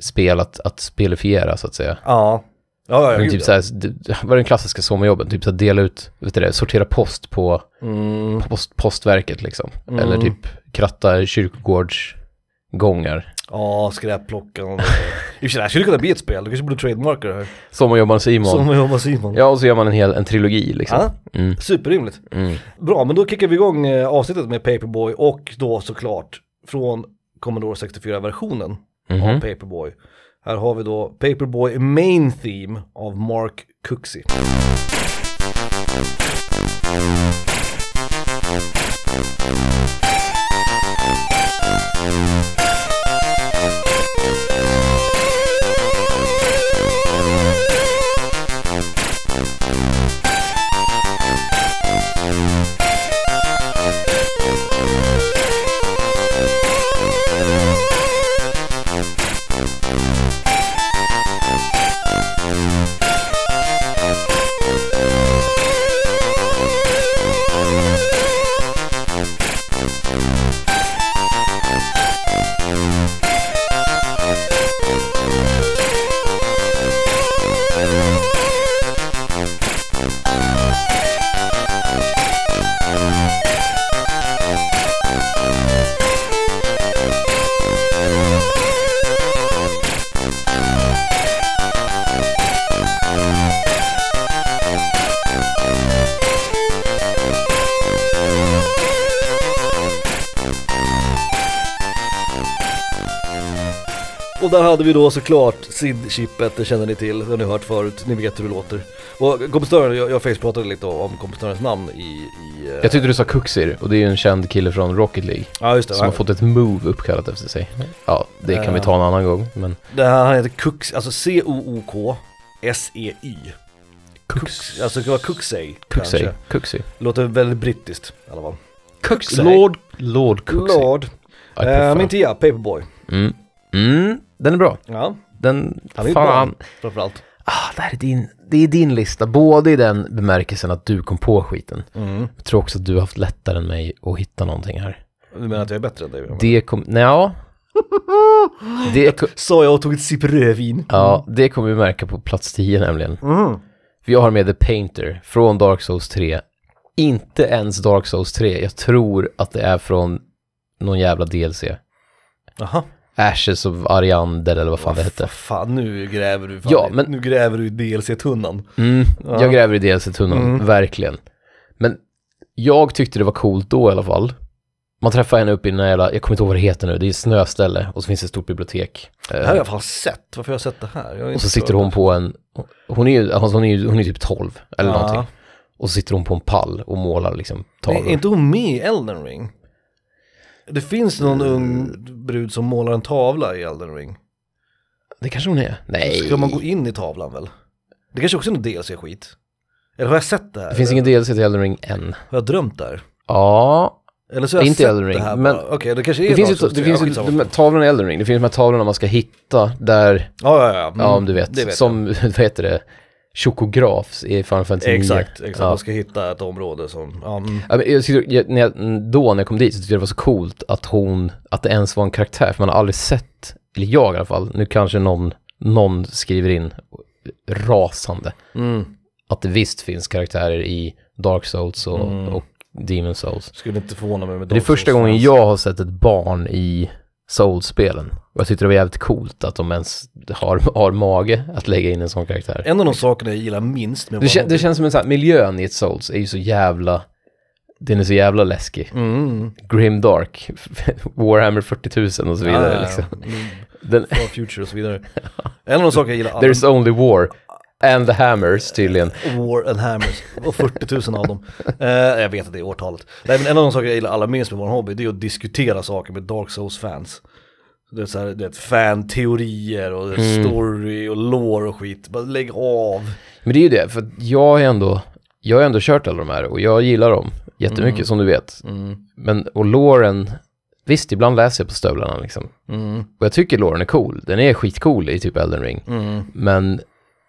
S2: spel att, att spelifiera så att säga.
S1: Ja. Ja, ja,
S2: Men
S1: gud,
S2: typ
S1: ja.
S2: så här, det var den klassiska sommarjobben, typ så här dela ut, vet du det, sortera post på
S1: Mm,
S2: post, postverket liksom. Eller typ kratta kyrkogårdsgångar.
S1: ja, skräpplocken. och det där. I och för sig, det här skulle kunna bli ett spel. Du kanske borde trademarka det här.
S2: Sommarjobbaren Simon.
S1: Som jag och Simon.
S2: Ja, och så gör man en hel en trilogi liksom.
S1: Ja.
S2: Mm.
S1: Superrimligt.
S2: Mm.
S1: Bra, men då kickar vi igång eh, avsnittet med Paperboy och då såklart från Commodore 64-versionen av
S2: Mhm.
S1: Paperboy. Här har vi då Paperboy Main Theme av Mark Cooksey. Och där hade vi då såklart SID-chippet, det känner ni till, det har ni hört förut, ni vet hur det låter. Och kompositören, jag, jag facepratade lite om kompositörens namn i... i eh,
S2: Jag tyckte du sa Kuxir, och det är ju en känd kille från Rocket League.
S1: ja just det,
S2: Som har
S1: han,
S2: fått ett move uppkallat efter sig. Ja, det kan vi ta en annan gång, men...
S1: det här, han heter Cooks, alltså C-O-O-K-S-E-Y. Cooks, E alltså det kan vara Cooksey
S2: Kuxi.
S1: kanske.
S2: Kuxi.
S1: Låter väldigt brittiskt i alla fall.
S2: Lord... Lord Kuxi.
S1: Lord.
S2: I prefer.
S1: Eh, men inte jag, Paperboy.
S2: Mm. Mm, den är bra.
S1: Ja,
S2: Den...
S1: han är ju
S2: Fan.
S1: barn framförallt.
S2: Ah, det här är din... Det är din lista, både i den bemärkelsen att du kom på skiten.
S1: Mm.
S2: Jag tror också att du har haft lättare än mig att hitta någonting här.
S1: Du menar att jag är bättre än dig? menar jag.
S2: Det kom... Nej, ja. Det, ko-
S1: Sa jag och tog ett sipp rödvin.
S2: ja, det kommer vi märka på plats 10 nämligen.
S1: Mm.
S2: För jag har med The Painter från Dark Souls 3. Inte ens Dark Souls 3. Jag tror att det är från någon jävla DLC.
S1: Jaha.
S2: Ashes of Ariander eller vad fan det
S1: Vad
S2: hette.
S1: Fan, nu gräver du fan
S2: Ja,
S1: i-
S2: men-
S1: Nu gräver du i DLC-tunnan.
S2: Mm,
S1: Ja. Mm.
S2: Jag gräver i DLC-tunnan, verkligen. Men jag tyckte det var coolt då i alla fall. Man träffar henne uppe i den här jävla, jag kommer inte ihåg vad det heter nu, det är ett snöställe och så finns det ett stort bibliotek. Eh,
S1: Det här har jag fan sett, varför har jag sett det här? Jag är
S2: och
S1: inte
S2: så sitter hon på en, hon är ju, alltså hon är ju hon är typ 12 eller
S1: Ja.
S2: någonting. Och så sitter hon på en pall och målar liksom
S1: Är
S2: tavlor.
S1: inte hon med i Elden Ring? Det finns någon
S2: Eh.
S1: ung brud som målar en tavla i Elden Ring.
S2: Det kanske hon är. Nej.
S1: Ska man gå in i tavlan väl? Det kanske också är någon DLC-skit. Eller har jag sett det här?
S2: Det finns ingen DLC till Elden Ring än.
S1: Har jag drömt där?
S2: Ja,
S1: Eller så har
S2: Det är
S1: jag
S2: inte
S1: sett
S2: Elden Ring,
S1: det här
S2: men-
S1: bara. Okej, det kanske är
S2: det finns
S1: någon
S2: ju,
S1: sorts-
S2: det finns
S1: ja,
S2: ju
S1: skitsamma.
S2: de här tavlorna i Elden Ring, det finns de här tavlorna man ska hitta där,
S1: Ja, ja, ja. Mm,
S2: ja om du vet,
S1: det vet
S2: som, vad heter det, chokografs i Final Fantasy
S1: jag.
S2: 9.
S1: Exakt, exakt.
S2: Ja.
S1: Man ska hitta ett område som, ja, mm.
S2: Ja, men jag tyckte, jag, när jag, mm, då när jag kom dit så tyckte jag det var så coolt att hon, att det ens var en karaktär, för man har aldrig sett, eller jag i alla fall, nu kanske någon, någon skriver in rasande,
S1: Mm.
S2: att det visst finns karaktärer i Dark Souls och,
S1: Mm.
S2: och Demon Souls.
S1: Skulle inte förvåna mig med
S2: Det är första gången jag har sett ett barn i Souls-spelen. Och jag tyckte det var jävligt coolt att de ens har, har mage att lägga in en sån karaktär.
S1: En av de sakerna jag gillar minst med
S2: Det, kän, det
S1: Wannabe-
S2: känns som en sån här, miljön i ett Souls är ju så jävla, den är så jävla läskig.
S1: Mm.
S2: Grim Dark, Warhammer 40 000 och så vidare.
S1: Ja, ja, ja.
S2: liksom.
S1: Mm,
S2: Den,
S1: Far Future och så vidare. En av de saker jag gillar allra
S2: there's only war. And the hammers tydligen.
S1: War and Hammers, och 40 000 av dem. Eh, jag vet att det är årtalet. Nej, men en av de saker jag gillar allra minst med vår hobby, det är att diskutera saker med Dark Souls-fans. Det är, så här, det är fan-teorier och det
S2: Mm.
S1: är story och lore och skit. Bara lägg av.
S2: Men det är ju det, för att jag har ändå, jag har ändå kört alla de här och jag gillar dem jättemycket
S1: Mm.
S2: som du vet. Men, och låren, visst ibland läser jag på stövlarna liksom.
S1: mm,
S2: Och jag tycker låren är cool, den är skitcool i typ Elden Ring.
S1: mm.
S2: Men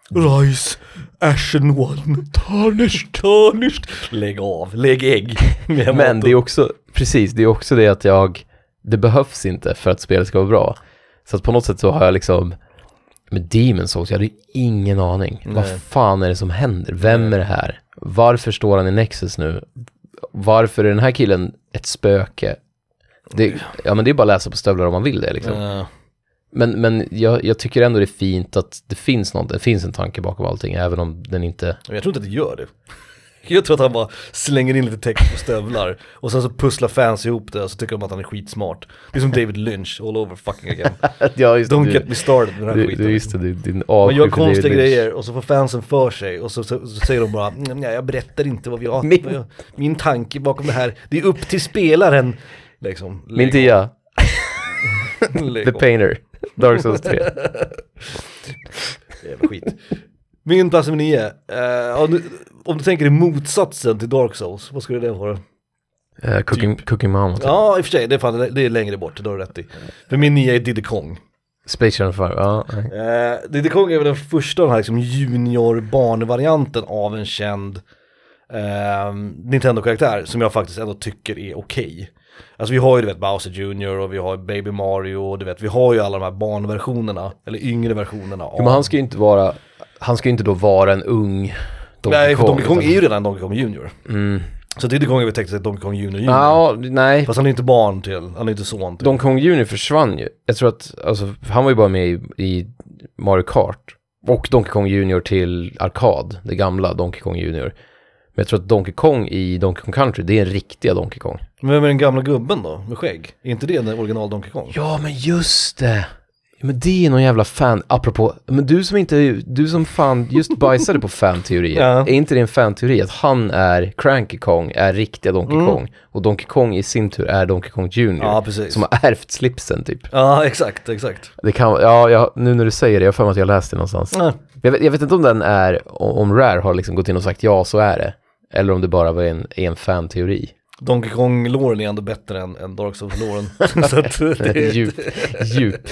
S1: Rise, Ashen One, Tarnished, Tarnished. Lägg av, lägg ägg. Med
S2: Men det
S1: maten.
S2: är också, precis, det är också det att jag, det behövs inte för att spelet ska vara bra. Så att på något sätt så har jag liksom, med Demon's Souls, jag hade ju ingen aning. Vad fan är det som händer? Vem är det här? Varför står han i Nexus nu? Varför är den här killen ett spöke? Det, ja men det är bara att läsa på stövlar om man vill det liksom.
S1: Eh,
S2: Men, men jag, jag tycker ändå det är fint att det finns något, det finns en tanke bakom allting, även om den inte...
S1: Men jag tror inte att det gör det. Jag tror att han bara slänger in lite text på stövlar och sen så pusslar fans ihop det och så tycker de att han är skitsmart. Det är som David Lynch all over fucking again.
S2: ja, just
S1: Don't get me started med den här
S2: Du,
S1: skiten. liksom.
S2: du, just det, din, din
S1: Man
S2: avsky
S1: gör
S2: för David
S1: konstiga
S2: Lynch.
S1: grejer och så får fansen för sig och så, så, så säger de bara "Mm, nej jag berättar inte vad jag,
S2: Min-
S1: vad jag min tanke bakom det här, det är upp till spelaren. Liksom,
S2: Min
S1: Lägg
S2: tia,
S1: av, lägg
S2: The
S1: av.
S2: Painter, Dark Souls 3.
S1: Jävla skit. Min plats nummer nio, eh, om, du, om du tänker i motsatsen till Dark Souls, vad skulle det vara?
S2: Eh, cooking, cooking Mama, typ.
S1: Ja, i och för sig, det är, fan, det är längre bort, det har du rätt i. För min nia är Diddy Kong.
S2: typ. Space Channel 5, ja. nej.
S1: Eh, Diddy Kong är väl den första av den här liksom, junior-barnvarianten av en känd eh, Nintendo-karaktär som jag faktiskt ändå tycker är okej. Alltså vi har ju du vet Bowser Jr och vi har Baby Mario och du vet vi har ju alla de här barnversionerna, eller yngre versionerna av...
S2: Jo, men han ska ju inte vara, han ska ju inte då vara en ung Donkey
S1: Nej, för
S2: Kong.
S1: Donkey
S2: liksom.
S1: Kong
S2: utan- Mm.
S1: är ju redan Donkey Kong Jr. Så Diddy Kong är väl tekniskt sett Donkey Kong Jr. Jr.
S2: Ja, nej.
S1: Fast han är inte barn till, han är inte son till.
S2: Donkey Kong Jr försvann ju. Jag tror att, alltså, han var ju bara med i, i Mario Kart. Och Donkey Kong Jr till Arkad, det gamla Donkey Kong Jr. Men jag tror att Donkey Kong i Donkey Kong Country, det är en riktiga Donkey Kong.
S1: Men vem är den gamla gubben då, med skägg? Är inte det den original Donkey Kong?
S2: Ja, men just det. Ja, Men det är någon jävla fan, apropå, men du som inte, du som fan just bajsade på fan-teorier,
S1: Ja.
S2: är inte det en fan-teori att han är, Cranky Kong är riktiga Donkey Kong och Donkey Kong i sin tur är Donkey Kong Jr.
S1: Mm. Ja, precis.
S2: Som har ärvt slipsen typ.
S1: Ja, exakt, exakt.
S2: Det kan vara- ja, jag, nu när du säger det, jag har för mig att jag läste det någonstans.
S1: Ja.
S2: Jag, vet, jag vet inte om den är, om om Rare har liksom gått in och sagt ja, så är det. Eller om det bara var en, en fan-teori.
S1: Donkey Kong-låren är ändå bättre än, än Dark Souls-låren. Så att det är-
S2: djup, djup.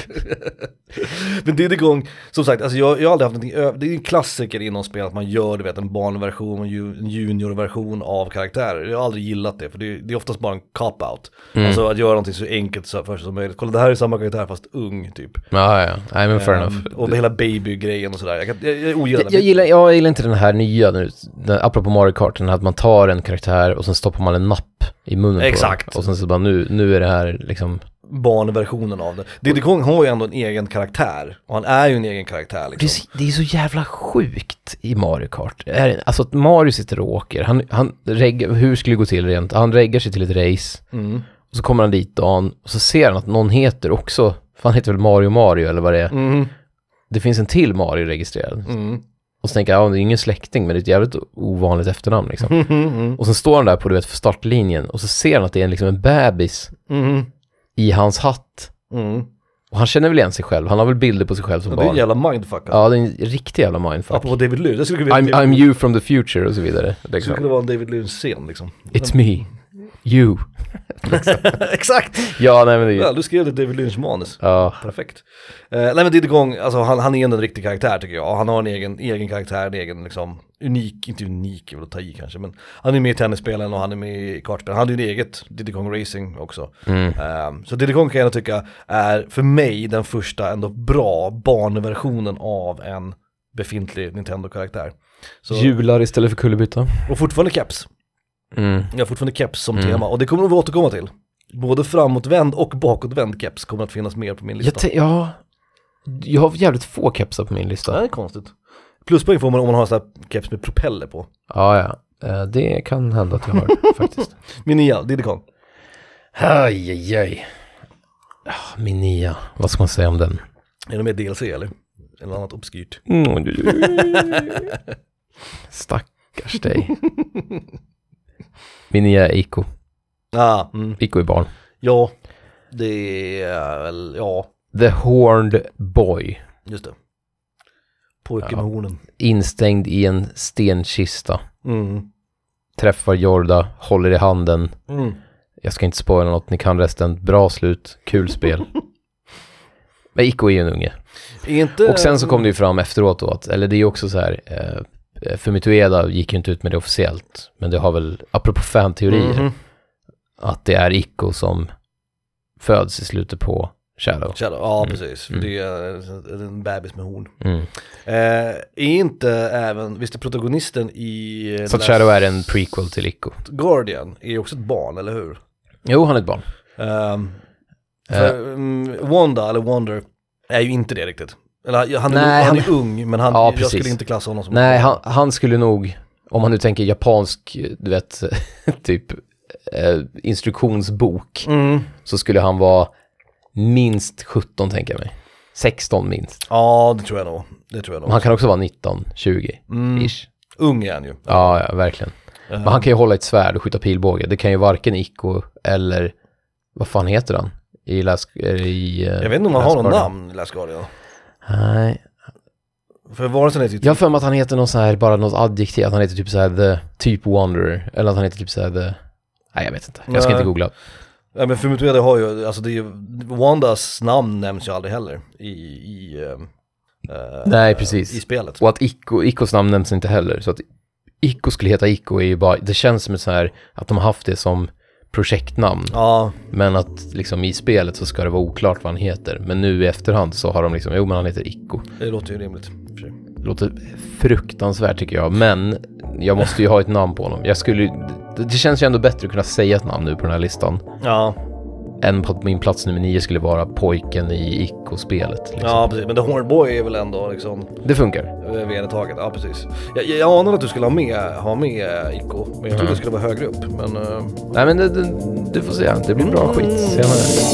S1: Men Diddy Kong, som sagt, alltså jag, jag har aldrig haft någonting över, det är ju en klassiker inom spel att man gör du vet, en barnversion, och ju- en juniorversion av karaktärer. Jag har aldrig gillat det, för det, är- det är oftast bara en cop-out.
S2: Mm.
S1: Alltså att göra någonting så enkelt så- för sig som möjligt. Kolla det här är samma karaktär fast ung typ.
S2: Ja, ja, nej men fair enough.
S1: Ehm, Och hela baby-grejen och sådär. Jag, kan, jag, jag ogillar
S2: Jag, jag, gillar, jag gillar inte den här nya nu, den, apropå Mario Kart, den här att man tar en karaktär och sen stoppar man en napp i munnen på
S1: Exakt.
S2: den. Och sen så bara nu, nu är det här liksom,
S1: barnversionen av det. Diddy Kong har ju ändå en egen karaktär, och han är ju en egen karaktär
S2: Det är,
S1: liksom.
S2: så- det är så jävla sjukt i Mario Kart. Är det- Alltså att Mario sitter och åker, han, han reggar, hur skulle det gå till rent? Han reggar sig till ett race,
S1: Mm.
S2: och så kommer han dit dagen, och så ser han att någon heter också, fan heter väl Mario Mario eller vad det är.
S1: Mm.
S2: Det finns en till Mario registrerad.
S1: Mm.
S2: Och så tänker jag, ja det är ingen släkting, men det är ett jävligt ovanligt efternamn liksom.
S1: Mm.
S2: Och sen står han där på du vet, startlinjen och så ser han att det är en, liksom en bebis
S1: Mm.
S2: i hans hatt.
S1: Mm.
S2: Och han känner väl igen sig själv, han har väl bilder på sig själv som
S1: Ja, Det är
S2: barn.
S1: en jävla mindfuck alltså.
S2: Ja, det är en riktig jävla mindfuck.
S1: Apropå David Lynch, det skulle kunna
S2: I'm,
S1: vara,
S2: I'm you from the future och så vidare.
S1: det skulle
S2: Liksom.
S1: kunna vara en David Lynch-scen liksom.
S2: It's me, you.
S1: Exakt!
S2: Ja, nej men det är
S1: Ja,
S2: ju...
S1: du skrev det David Lynch-manus.
S2: Ja,
S1: Perfekt. Eh, nej men Diddy Kong, alltså han, han är ändå en riktig karaktär tycker jag. Han har en egen, egen karaktär, en egen liksom, unik, inte unik är väl att ta i kanske, men han är med i tennisspelen och han är med i kartspelen. Han hade ju ett eget Diddy Kong Racing också.
S2: mm.
S1: Eh, så Diddy Kong kan jag ändå tycka är för mig den första ändå bra barnversionen av en befintlig Nintendo-karaktär. Så,
S2: jular istället för kullerbytta.
S1: och fortfarande keps.
S2: Mm.
S1: Jag har fortfarande keps som
S2: Mm.
S1: tema och det kommer vi återkomma till. Både framåtvänd och bakåtvänd keps kommer att finnas med på min lista.
S2: Jag tän- ja, jag har jävligt få kepsar på min
S1: Ja,
S2: lista.
S1: det är konstigt. Pluspoäng får man om man har en sån här keps med propeller på.
S2: Ja, ja. Eh, Det kan hända att jag har faktiskt.
S1: Min nia, Diddy Kong.
S2: Aj, aj, aj. Ah, Min nia, vad ska man säga om den?
S1: Är det med DLC eller? Eller annat obskyrt?
S2: Stackars dig. Min nya Iko.
S1: Ah, mm.
S2: Iko är barn.
S1: Ja, det är väl, ja,
S2: The Horned Boy.
S1: just det. Pojken
S2: Ja.
S1: med hornen.
S2: Instängd i en stenkista.
S1: Mm.
S2: Träffar Jorda, håller i handen.
S1: Mm.
S2: Jag ska inte spoila något, ni kan resten. Bra slut, kul spel. Men Iko är ju en unge.
S1: Är Inte,
S2: Och sen så kom det ju fram efteråt då att, eller det är ju också så här, eh, Fumitueda gick ju inte ut med det officiellt, men det har väl, apropå fanteorier,
S1: Mhm.
S2: att det är Iko som föds i slutet på Shadow.
S1: Shadow, ja precis.
S2: Mm.
S1: Det är en bebis med horn.
S2: Mm.
S1: Eh, är inte även, visst är protagonisten i eh,
S2: Så att
S1: Last
S2: Shadow är en prequel till Iko.
S1: Guardian är ju också ett barn, eller hur?
S2: Jo, han är ett barn.
S1: Ehm,
S2: Eh.
S1: för, mm, Wanda, eller Wonder, är ju inte det riktigt. Eller han är,
S2: Nej,
S1: han
S2: han-
S1: är ung, men han,
S2: Ja,
S1: jag
S2: precis.
S1: skulle inte klassa honom som
S2: Nej, han, han skulle nog, om man nu tänker japansk, du vet, typ eh, instruktionsbok,
S1: Mm.
S2: så skulle han vara minst 17 tänker jag mig. 16 minst.
S1: Ja, det tror jag nog. Det tror jag nog.
S2: Men han kan också vara 19, 20
S1: Mm.
S2: ish.
S1: Ung är han ju.
S2: Ja, ja, verkligen. Men han kan ju hålla ett svärd och skjuta pilbåge. Det kan ju varken Iko eller, vad fan heter han? I Last... eh, I, eh,
S1: Jag vet inte om han har
S2: Last
S1: något
S2: Guardian.
S1: namn i Last Guardian.
S2: Nej.
S1: För varelsen heter ju
S2: Jag har för mig att han heter någon sån här, bara något adjektiv, att han heter typ så här the typ wanderer, eller att han heter typ så här the... Nej, jag vet inte. Jag ska
S1: Nej.
S2: inte googla.
S1: Ja men Fumituede har ju, alltså det är ju, Wandas namn nämns ju aldrig heller i, i, ehm, eh,
S2: Nej, precis.
S1: i spelet.
S2: Och att Iko, Ikos namn nämns inte heller, så att Iko skulle heta Iko är ju bara, det känns som ett så här, att de har haft det som projektnamn,
S1: Ja,
S2: men att liksom i spelet så ska det vara oklart vad han heter, men nu i efterhand så har de liksom, jo men han heter Iko.
S1: det låter ju rimligt. i och för sig.
S2: Låter fruktansvärt tycker jag, men jag måste ju ha ett namn på honom. Jag skulle ju- det, det känns ju ändå bättre att kunna säga ett namn nu på den här listan.
S1: Ja,
S2: än på att min plats nummer nio skulle vara pojken i Ico-spelet. Liksom.
S1: ja precis. Men The Horned Boy är väl ändå liksom
S2: Det funkar.
S1: eh, vedertaget. Ja, precis. Jag, jag, jag anade att du skulle ha med, ha med eh, Iko, men
S2: Mm.
S1: jag trodde det skulle vara högre upp. Men eh,
S2: Nej men det, det, du får se, det blir bra skit senare.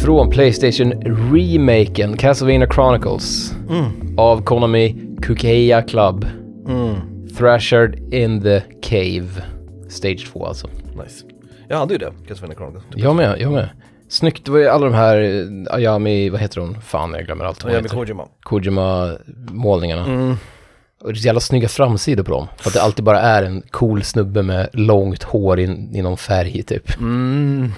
S2: från Playstation remaken Castlevania Chronicles av Konami Kukeya Club.
S1: Mm.
S2: Thrashered in the Cave. Stage 2 alltså.
S1: Nice. Jag hade ju det, Castlevania Chronicles. Typ.
S2: Jag med, jag med. Snyggt, det var ju alla de här eh, Ayami, vad heter hon? Fan, jag glömmer allt
S1: Och
S2: vad hon
S1: Yami
S2: heter.
S1: Kojima.
S2: Kojima-målningarna.
S1: Mm.
S2: Och det är så jävla snygga framsidor på dem. För att det alltid bara är en cool snubbe med långt hår in, i någon färg typ.
S1: Mm.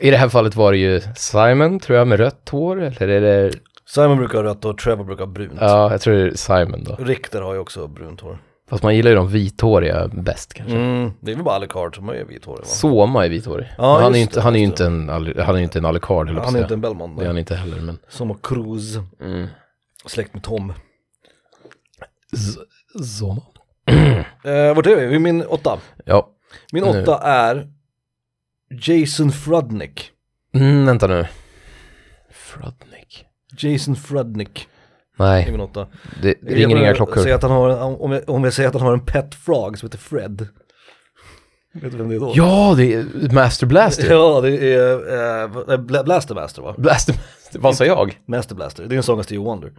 S2: I det här fallet var det ju Simon, tror jag, med rött hår. Eller är det...
S1: Simon brukar ha rött och Trevor brukar ha brunt.
S2: Ja, jag tror det är Simon då.
S1: Richter har ju också brunt hår.
S2: Fast man gillar ju de vithåriga bäst kanske.
S1: Mm. Det är väl bara Alucard som är vithårig va?
S2: Soma är vithårig.
S1: Ja,
S2: Men han,
S1: just
S2: är ju inte,
S1: det,
S2: han är ju
S1: just
S2: inte en, Al- han är ju inte en Alucard, höll jag på att
S1: Han är
S2: säga.
S1: inte Mm. en Bellman.
S2: Det är
S1: nej.
S2: han inte heller, men...
S1: Som Cruz, släkt med Tom.
S2: Z- Zoma.
S1: Eh, vart är vi? Min åtta.
S2: Ja.
S1: Min
S2: Mm. Nu.
S1: åtta är Jason Frudnick.
S2: Mm, vänta nu. Frudnick.
S1: Jason Frudnick är
S2: Nej,
S1: min åtta.
S2: det det ringer
S1: Jag
S2: inga
S1: bara säger
S2: klockor.
S1: Att han har, om, jag, om jag säger att han har en pet frog som heter Fred. Vet du vem det är då?
S2: Ja, det är Master Blaster.
S1: Ja, det är eh, Bla- Blaster Master va?
S2: Blaster, vad sa jag?
S1: Master Blaster, det är en sång av Stevie Wonder.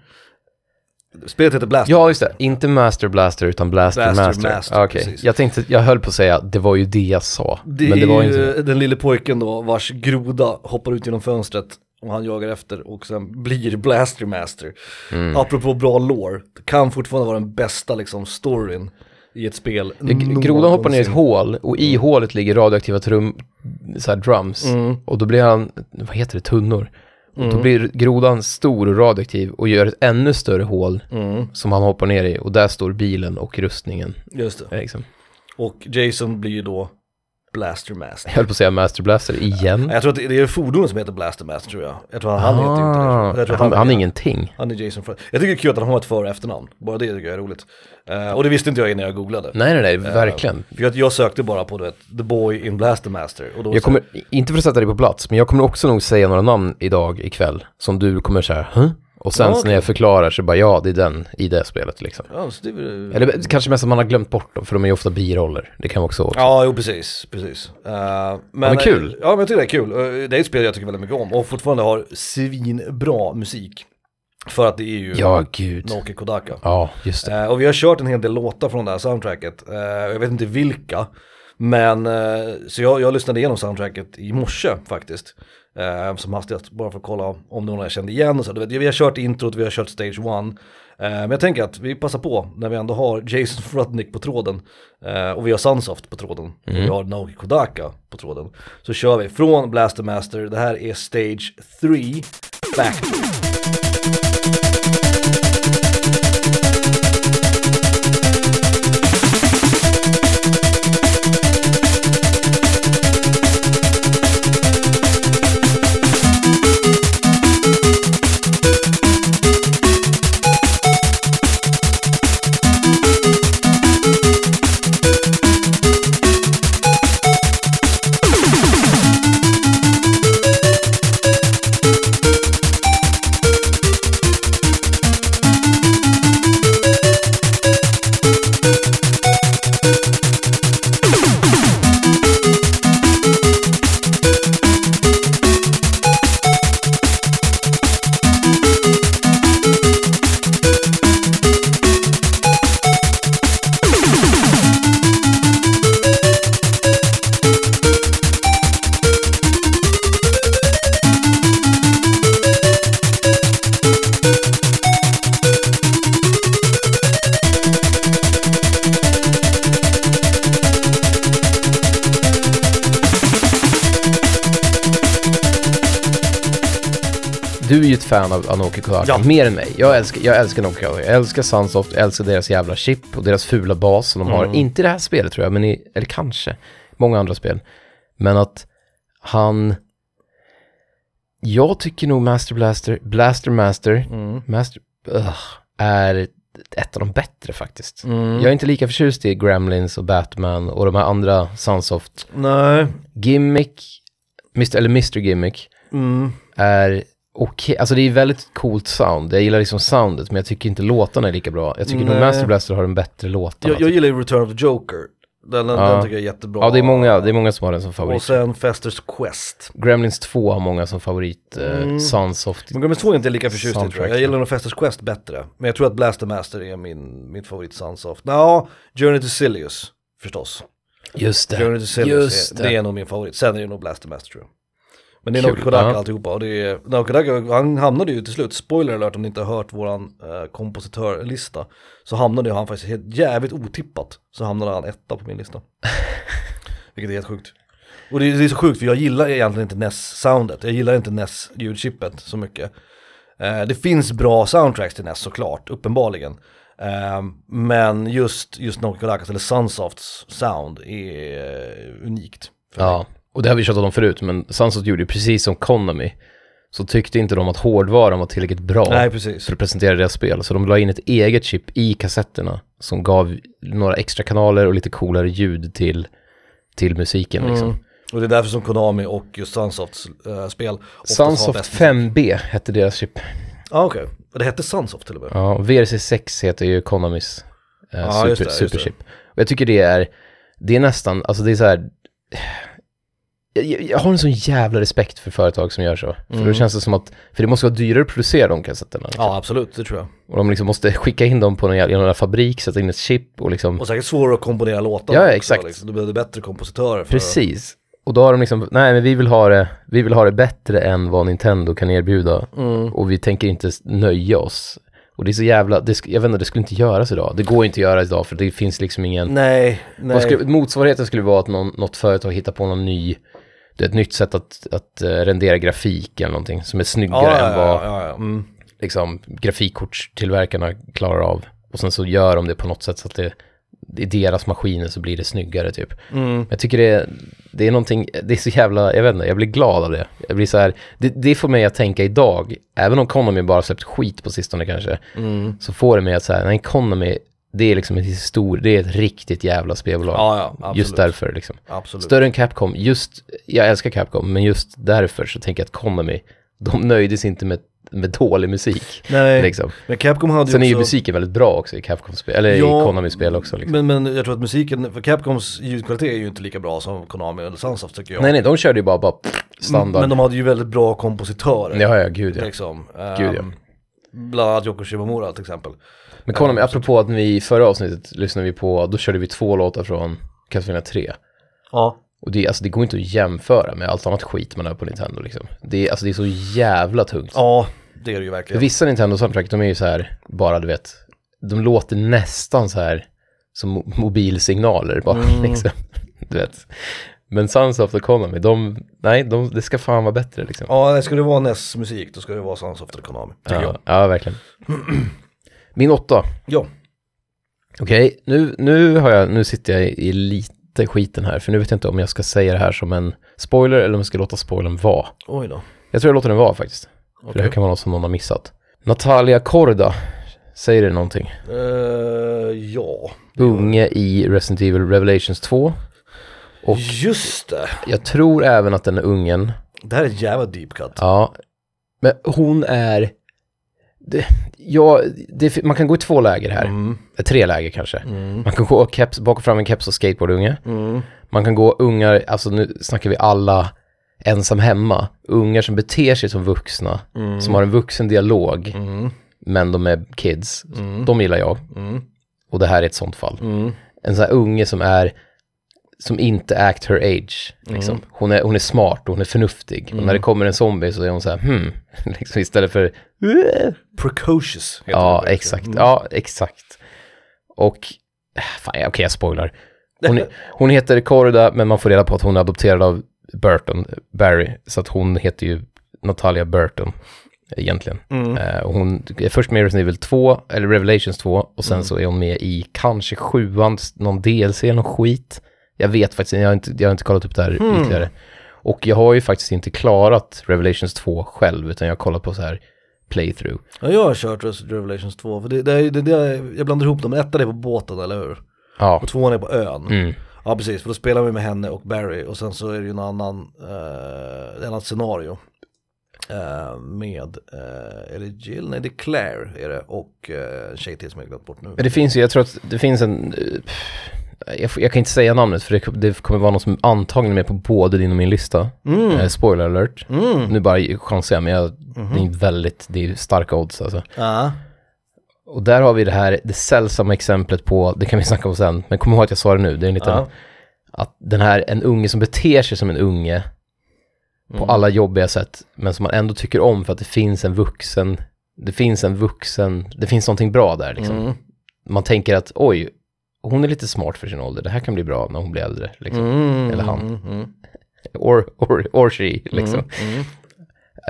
S1: Spelet heter Blaster.
S2: Ja, just det. Inte Master Blaster, utan Blaster
S1: Blaster
S2: Master.
S1: Master,
S2: Okej,
S1: precis.
S2: jag tänkte, jag höll på att säga, det var ju det jag sa.
S1: Det
S2: men det
S1: är
S2: var
S1: ju
S2: inte det.
S1: den lille pojken då vars groda hoppar ut genom fönstret och han jagar efter och sen blir Blaster Master.
S2: Mm.
S1: Apropå bra lore, det kan fortfarande vara den bästa liksom storyn i ett spel.
S2: G- Grodan hoppar ner i ett hål och
S1: Mm.
S2: i hålet ligger radioaktiva trum, så här drums. Och då blir han, vad heter det, tunnor. Och
S1: Mm.
S2: då blir grodan stor och radioaktiv och gör ett ännu större hål
S1: mm,
S2: som han hoppar ner i. Och där står bilen och rustningen.
S1: Just det.
S2: eh, Liksom.
S1: Och Jason blir ju då Blaster Master.
S2: Jag höll på att säga Master Blaster igen.
S1: Jag tror att det det är fordonen som heter Blaster Master tror jag. Jag tror att han heter ju inte det. Jag tror
S2: Ah,
S1: att
S2: han, han är ingenting.
S1: han är Jason Fred. Jag tycker det är kul att han har ett för och efternamn. Bara det tycker jag är roligt. Eh, och det visste inte jag innan jag googlade. Eh,
S2: Nej, nej, nej, verkligen.
S1: För jag, jag sökte bara på du vet, The Boy in Blaster Master. Och då
S2: Jag kommer, inte för att sätta dig på plats, men jag kommer också nog säga några namn idag ikväll som du kommer så här, huh? Och sen
S1: Ja,
S2: så när jag förklarar så bara, ja, det är den i det spelet liksom.
S1: Ja, så det är väl-
S2: Eller kanske mest att man har glömt bort dem, för de är ju ofta biroller. Det kan också vara också.
S1: Ja, jo precis, precis. Eh, men,
S2: men kul.
S1: Ja, men jag tycker det är kul. Eh, det är ett spel jag tycker väldigt mycket om och fortfarande har svinbra musik. För att det är ju
S2: Ja, gud.
S1: Noki Kodaka.
S2: Ja, just det.
S1: Eh, och vi har kört en hel del låtar från det här soundtracket. Eh, jag vet inte vilka. Men eh, så jag, jag lyssnade igenom soundtracket i morse faktiskt. Eh, som hastigast, bara för att kolla om det var någon jag kände igen. Och så. Du vet, vi har kört introt, vi har kört stage one. Eh, men jag tänker att vi passar på när vi ändå har Jason Frudnick på tråden. Eh, och vi har Sunsoft på tråden. Och
S2: Mm.
S1: vi har Naoki Kodaka på tråden. Så kör vi från Blaster Master. Det här är stage 3, back
S2: Du är ju ett fan av Anoki Kodaka,
S1: Ja.
S2: mer än mig. Jag älskar, jag älskar Anoki Kodaka, jag älskar Sunsoft, jag älskar deras jävla chip och deras fula bas som de har. Inte i det här spelet tror jag, men i, eller kanske, många andra spel. Men att han... Jag tycker nog Master Blaster, Blaster Master, Master... Ugh, är ett av de bättre faktiskt. Jag är inte lika förtjust i Gremlins och Batman och de här andra Sunsoft
S1: Nej,
S2: Gimmick, Mr, eller Mr Gimmick,
S1: mm.
S2: är okej. Alltså det är väldigt coolt sound. Jag gillar liksom soundet, men jag tycker inte låtarna är lika bra. Jag tycker nog
S1: Nej.
S2: Master Blaster har en bättre låt.
S1: Jag, jag gillar ju Return of the Joker. Den, den,
S2: Ja.
S1: den tycker jag är jättebra.
S2: Ja, det är, många, det är många som har den som favorit.
S1: Och sen Fester's Quest.
S2: Gremlins 2 har många som favorit. Eh,
S1: Mm.
S2: Sons of...
S1: Men Gremlins 2 är inte lika förtjust i tror jag.
S2: Soundtrack,
S1: Jag gillar nog Fester's Quest bättre. Men jag tror att Blaster Master är min, mitt favorit Sons of. Nå, Journey to Silius förstås.
S2: Just det.
S1: Journey to Silius,
S2: Just
S1: är,
S2: det.
S1: det är nog min favorit. Sen är det nog Blaster Master tror jag. Men det är
S2: Kul,
S1: Naoki Kodaka
S2: ja.
S1: alltihopa och det är, Naoki Kodaka, han hamnade ju till slut, spoiler alert om ni inte har hört våran eh, kompositörlista, så hamnade ju han faktiskt helt jävligt otippat, så hamnade han etta på min lista. Vilket är helt sjukt. Och det är, det är så sjukt för jag gillar egentligen inte NES-soundet, jag gillar inte NES-ljudchippet så mycket. Eh, det finns bra soundtracks till NES såklart, uppenbarligen. Eh, men just, just Nokia Kodakas eller Sunsofts sound är eh, unikt. För mig.
S2: Ja, och det har vi tjatat om förut, men Sunset gjorde ju precis som Konami. Så tyckte inte de att hårdvaran var tillräckligt bra
S1: Nej, precis.
S2: för att presentera deras spel. Så de la in ett eget chip i kassetterna som gav några extra kanaler och lite coolare ljud till, till musiken. Liksom.
S1: Mm. Och det är därför som Konami och just Sunsofts eh, spel oftast har
S2: Sunsoft
S1: bäst-
S2: 5B hette deras chip.
S1: Ja, okej. Det hette Sunsoft till och med.
S2: Ja, och VRC6 heter ju Konamis eh,
S1: Ja,
S2: super,
S1: just det, just det.
S2: superchip. Och jag tycker det är, det är nästan, alltså det är så här, jag, jag- jag har en sån jävla respekt för företag som gör så. För då känns det som att, för det måste vara dyrare att producera de kassetterna. Liksom.
S1: Mm. Ja, absolut, det tror jag.
S2: Och de liksom måste skicka in dem på någon jävla, i någon jävla fabrik, sätta in ett chip och liksom,
S1: Och säkert svårare att komponera låtar.
S2: Ja,
S1: också,
S2: exakt.
S1: Liksom. Du behövde bättre kompositörer. För
S2: precis. Och då har de liksom, nej men vi vill ha det, vi vill ha det bättre än vad Nintendo kan erbjuda.
S1: Mm.
S2: Och vi tänker inte s- nöja oss. Och det är så jävla, det, sk- jag vet inte, det skulle inte göras idag. Det går inte att göra idag för det finns liksom ingen...
S1: Nej, nej.
S2: Vad skulle, motsvarigheten skulle vara att någon, något företag hittar på någon ny, det är ett nytt sätt att, att eh, rendera grafik eller någonting som är snyggare
S1: ja, ja,
S2: än vad
S1: ja, ja, ja. Mm.
S2: liksom, grafikkortstillverkarna klarar av. Och sen så gör de det på något sätt så att det, i deras maskiner så blir det snyggare typ.
S1: mm.
S2: Jag tycker det, är- det är någonting, det är så jävla, jag vet inte, jag blir glad av det. Jag blir så här, det, det får mig att tänka idag, även om Konami bara släppt skit på sistone kanske,
S1: Mm.
S2: så får det mig att så här, nej Konami, det är liksom ett historiskt, det är ett riktigt jävla spelbolag.
S1: ja, ja, absolut.
S2: Just därför liksom.
S1: Absolut.
S2: Större än Capcom, just, jag älskar Capcom, men just därför så tänker jag att Konami, de nöjdes inte med, med dålig musik.
S1: Nej.
S2: Liksom.
S1: Men Capcom hade
S2: Sen är
S1: ju
S2: ju
S1: också...
S2: musiken väldigt bra också i Capcom-spel, eller
S1: Ja,
S2: i Konami-spel också. Liksom.
S1: Men, men jag tror att musiken, för Capcoms ljudkvalitet är ju inte lika bra som Konami eller Sunsoft tycker jag.
S2: Nej, nej, de körde ju bara, bara standard.
S1: Mm, Men de hade ju väldigt bra kompositörer.
S2: Ja, ja, gud ja.
S1: Liksom.
S2: Gud, ja.
S1: Ehm, Bland annat Yoko Shimomura till exempel.
S2: Men Konami, apropå att vi i förra avsnittet lyssnade vi på, då körde vi två låtar från Castlevania 3.
S1: Ja.
S2: Och det, alltså, det går inte att jämföra med allt annat skit man har på Nintendo liksom. Det, är- alltså, det är så jävla tungt.
S1: Ja, det är det ju verkligen.
S2: Vissa Nintendo soundtrack, de är ju så här, bara du vet, de låter nästan så här som mo- mobilsignaler bara
S1: Mm.
S2: liksom. Du vet. Men Sons of the Economy, de, nej, de, det ska fan vara bättre liksom.
S1: Ja, nej, ska det vara NES musik då ska det vara Sunsoft eller Konami. Tycker jag.
S2: Ja, ja verkligen. Min åtta.
S1: Ja.
S2: Okej, nu, nu, har jag, nu sitter jag i lite skiten här, för nu vet jag inte om jag ska säga det här som en spoiler eller om jag ska låta spoilern vara.
S1: Oj då.
S2: Jag tror jag låter den vara faktiskt, för det
S1: Okej.
S2: här kan vara något som någon har missat. Natalia Korda, säger det någonting?
S1: Eh, ja.
S2: unge i Resident Evil Revelations 2. Och-
S1: Just det.
S2: Jag tror även att den är ungen.
S1: Det här är en jävla deep cut.
S2: Ja. Men hon är... Det, ja, det, man kan gå i två läger här.
S1: Mm.
S2: Tre läger kanske.
S1: Mm.
S2: Man kan gå keps, bak och fram en keps och skateboardunge.
S1: Mm.
S2: Man kan gå ungar, alltså nu snackar vi alla ensam hemma. Ungar som beter sig som vuxna.
S1: Mm.
S2: Som har en vuxen dialog,
S1: Mm.
S2: men de är kids.
S1: Mm.
S2: De gillar jag.
S1: Mm.
S2: Och det här är ett sånt fall.
S1: Mm.
S2: en sån här unge som är som inte act her age. Liksom.
S1: Mm.
S2: Hon, är, hon är smart och hon är förnuftig. Och när det kommer en zombie så är hon så här, hmm, liksom istället för, "Uah."
S1: Precocious heter
S2: ja
S1: det. Mm.
S2: exakt, ja exakt. Och, äh, fan okej jag spoilar. Hon, hon heter Corda men man får reda på att hon är adopterad av Burton, Barry. Så att hon heter ju Natalia Burton egentligen.
S1: Mm.
S2: Eh, och hon är först med i Resident Evil 2, eller Revelations 2, och sen
S1: Mm.
S2: så är hon med i kanske sjuan, någon DLC eller någon skit. Jag vet faktiskt jag har inte, jag har inte kollat upp det här
S1: Hmm.
S2: ytterligare. Och jag har ju faktiskt inte klarat Revelations 2 själv, utan jag har kollat på så här playthrough.
S1: Ja, jag har kört Res- Revelations 2, för det, det, är- det, det, är- jag blandar ihop dem, men ettan är på båten, eller hur?
S2: Ja,
S1: Och tvåan är på ön.
S2: Mm.
S1: Ja, precis, för då spelar vi med henne och Barry, och sen så är det ju en annan, eh, ett annat scenario. Eh, med, eh, är det Jill? Nej, det är Claire är det, och eh, en tjej till som jag glömt bort nu.
S2: men det finns ju, jag tror att det finns en, eh, jag, får- jag kan inte säga namnet för det, det kommer vara någon som antagligen är med på både din och min lista. Eh, spoiler alert.
S1: Mm.
S2: Nu bara chansar jag, men jag, det är väldigt, det är starka odds alltså.
S1: Ja.
S2: Och där har vi det här, det sällsamma exemplet på, det kan vi snacka om sen, men kom ihåg att jag sa det nu, det är en liten,
S1: Ja.
S2: att den här, en unge som beter sig som en unge på
S1: Mm.
S2: alla jobbiga sätt, men som man ändå tycker om för att det finns en vuxen, det finns en vuxen, det finns någonting bra där liksom.
S1: Mm.
S2: Man tänker att oj, hon är lite smart för sin ålder, det här kan bli bra när hon blir äldre, liksom.
S1: Mm.
S2: Eller han.
S1: Mm. Mm.
S2: Or, or, or she, liksom.
S1: Mm.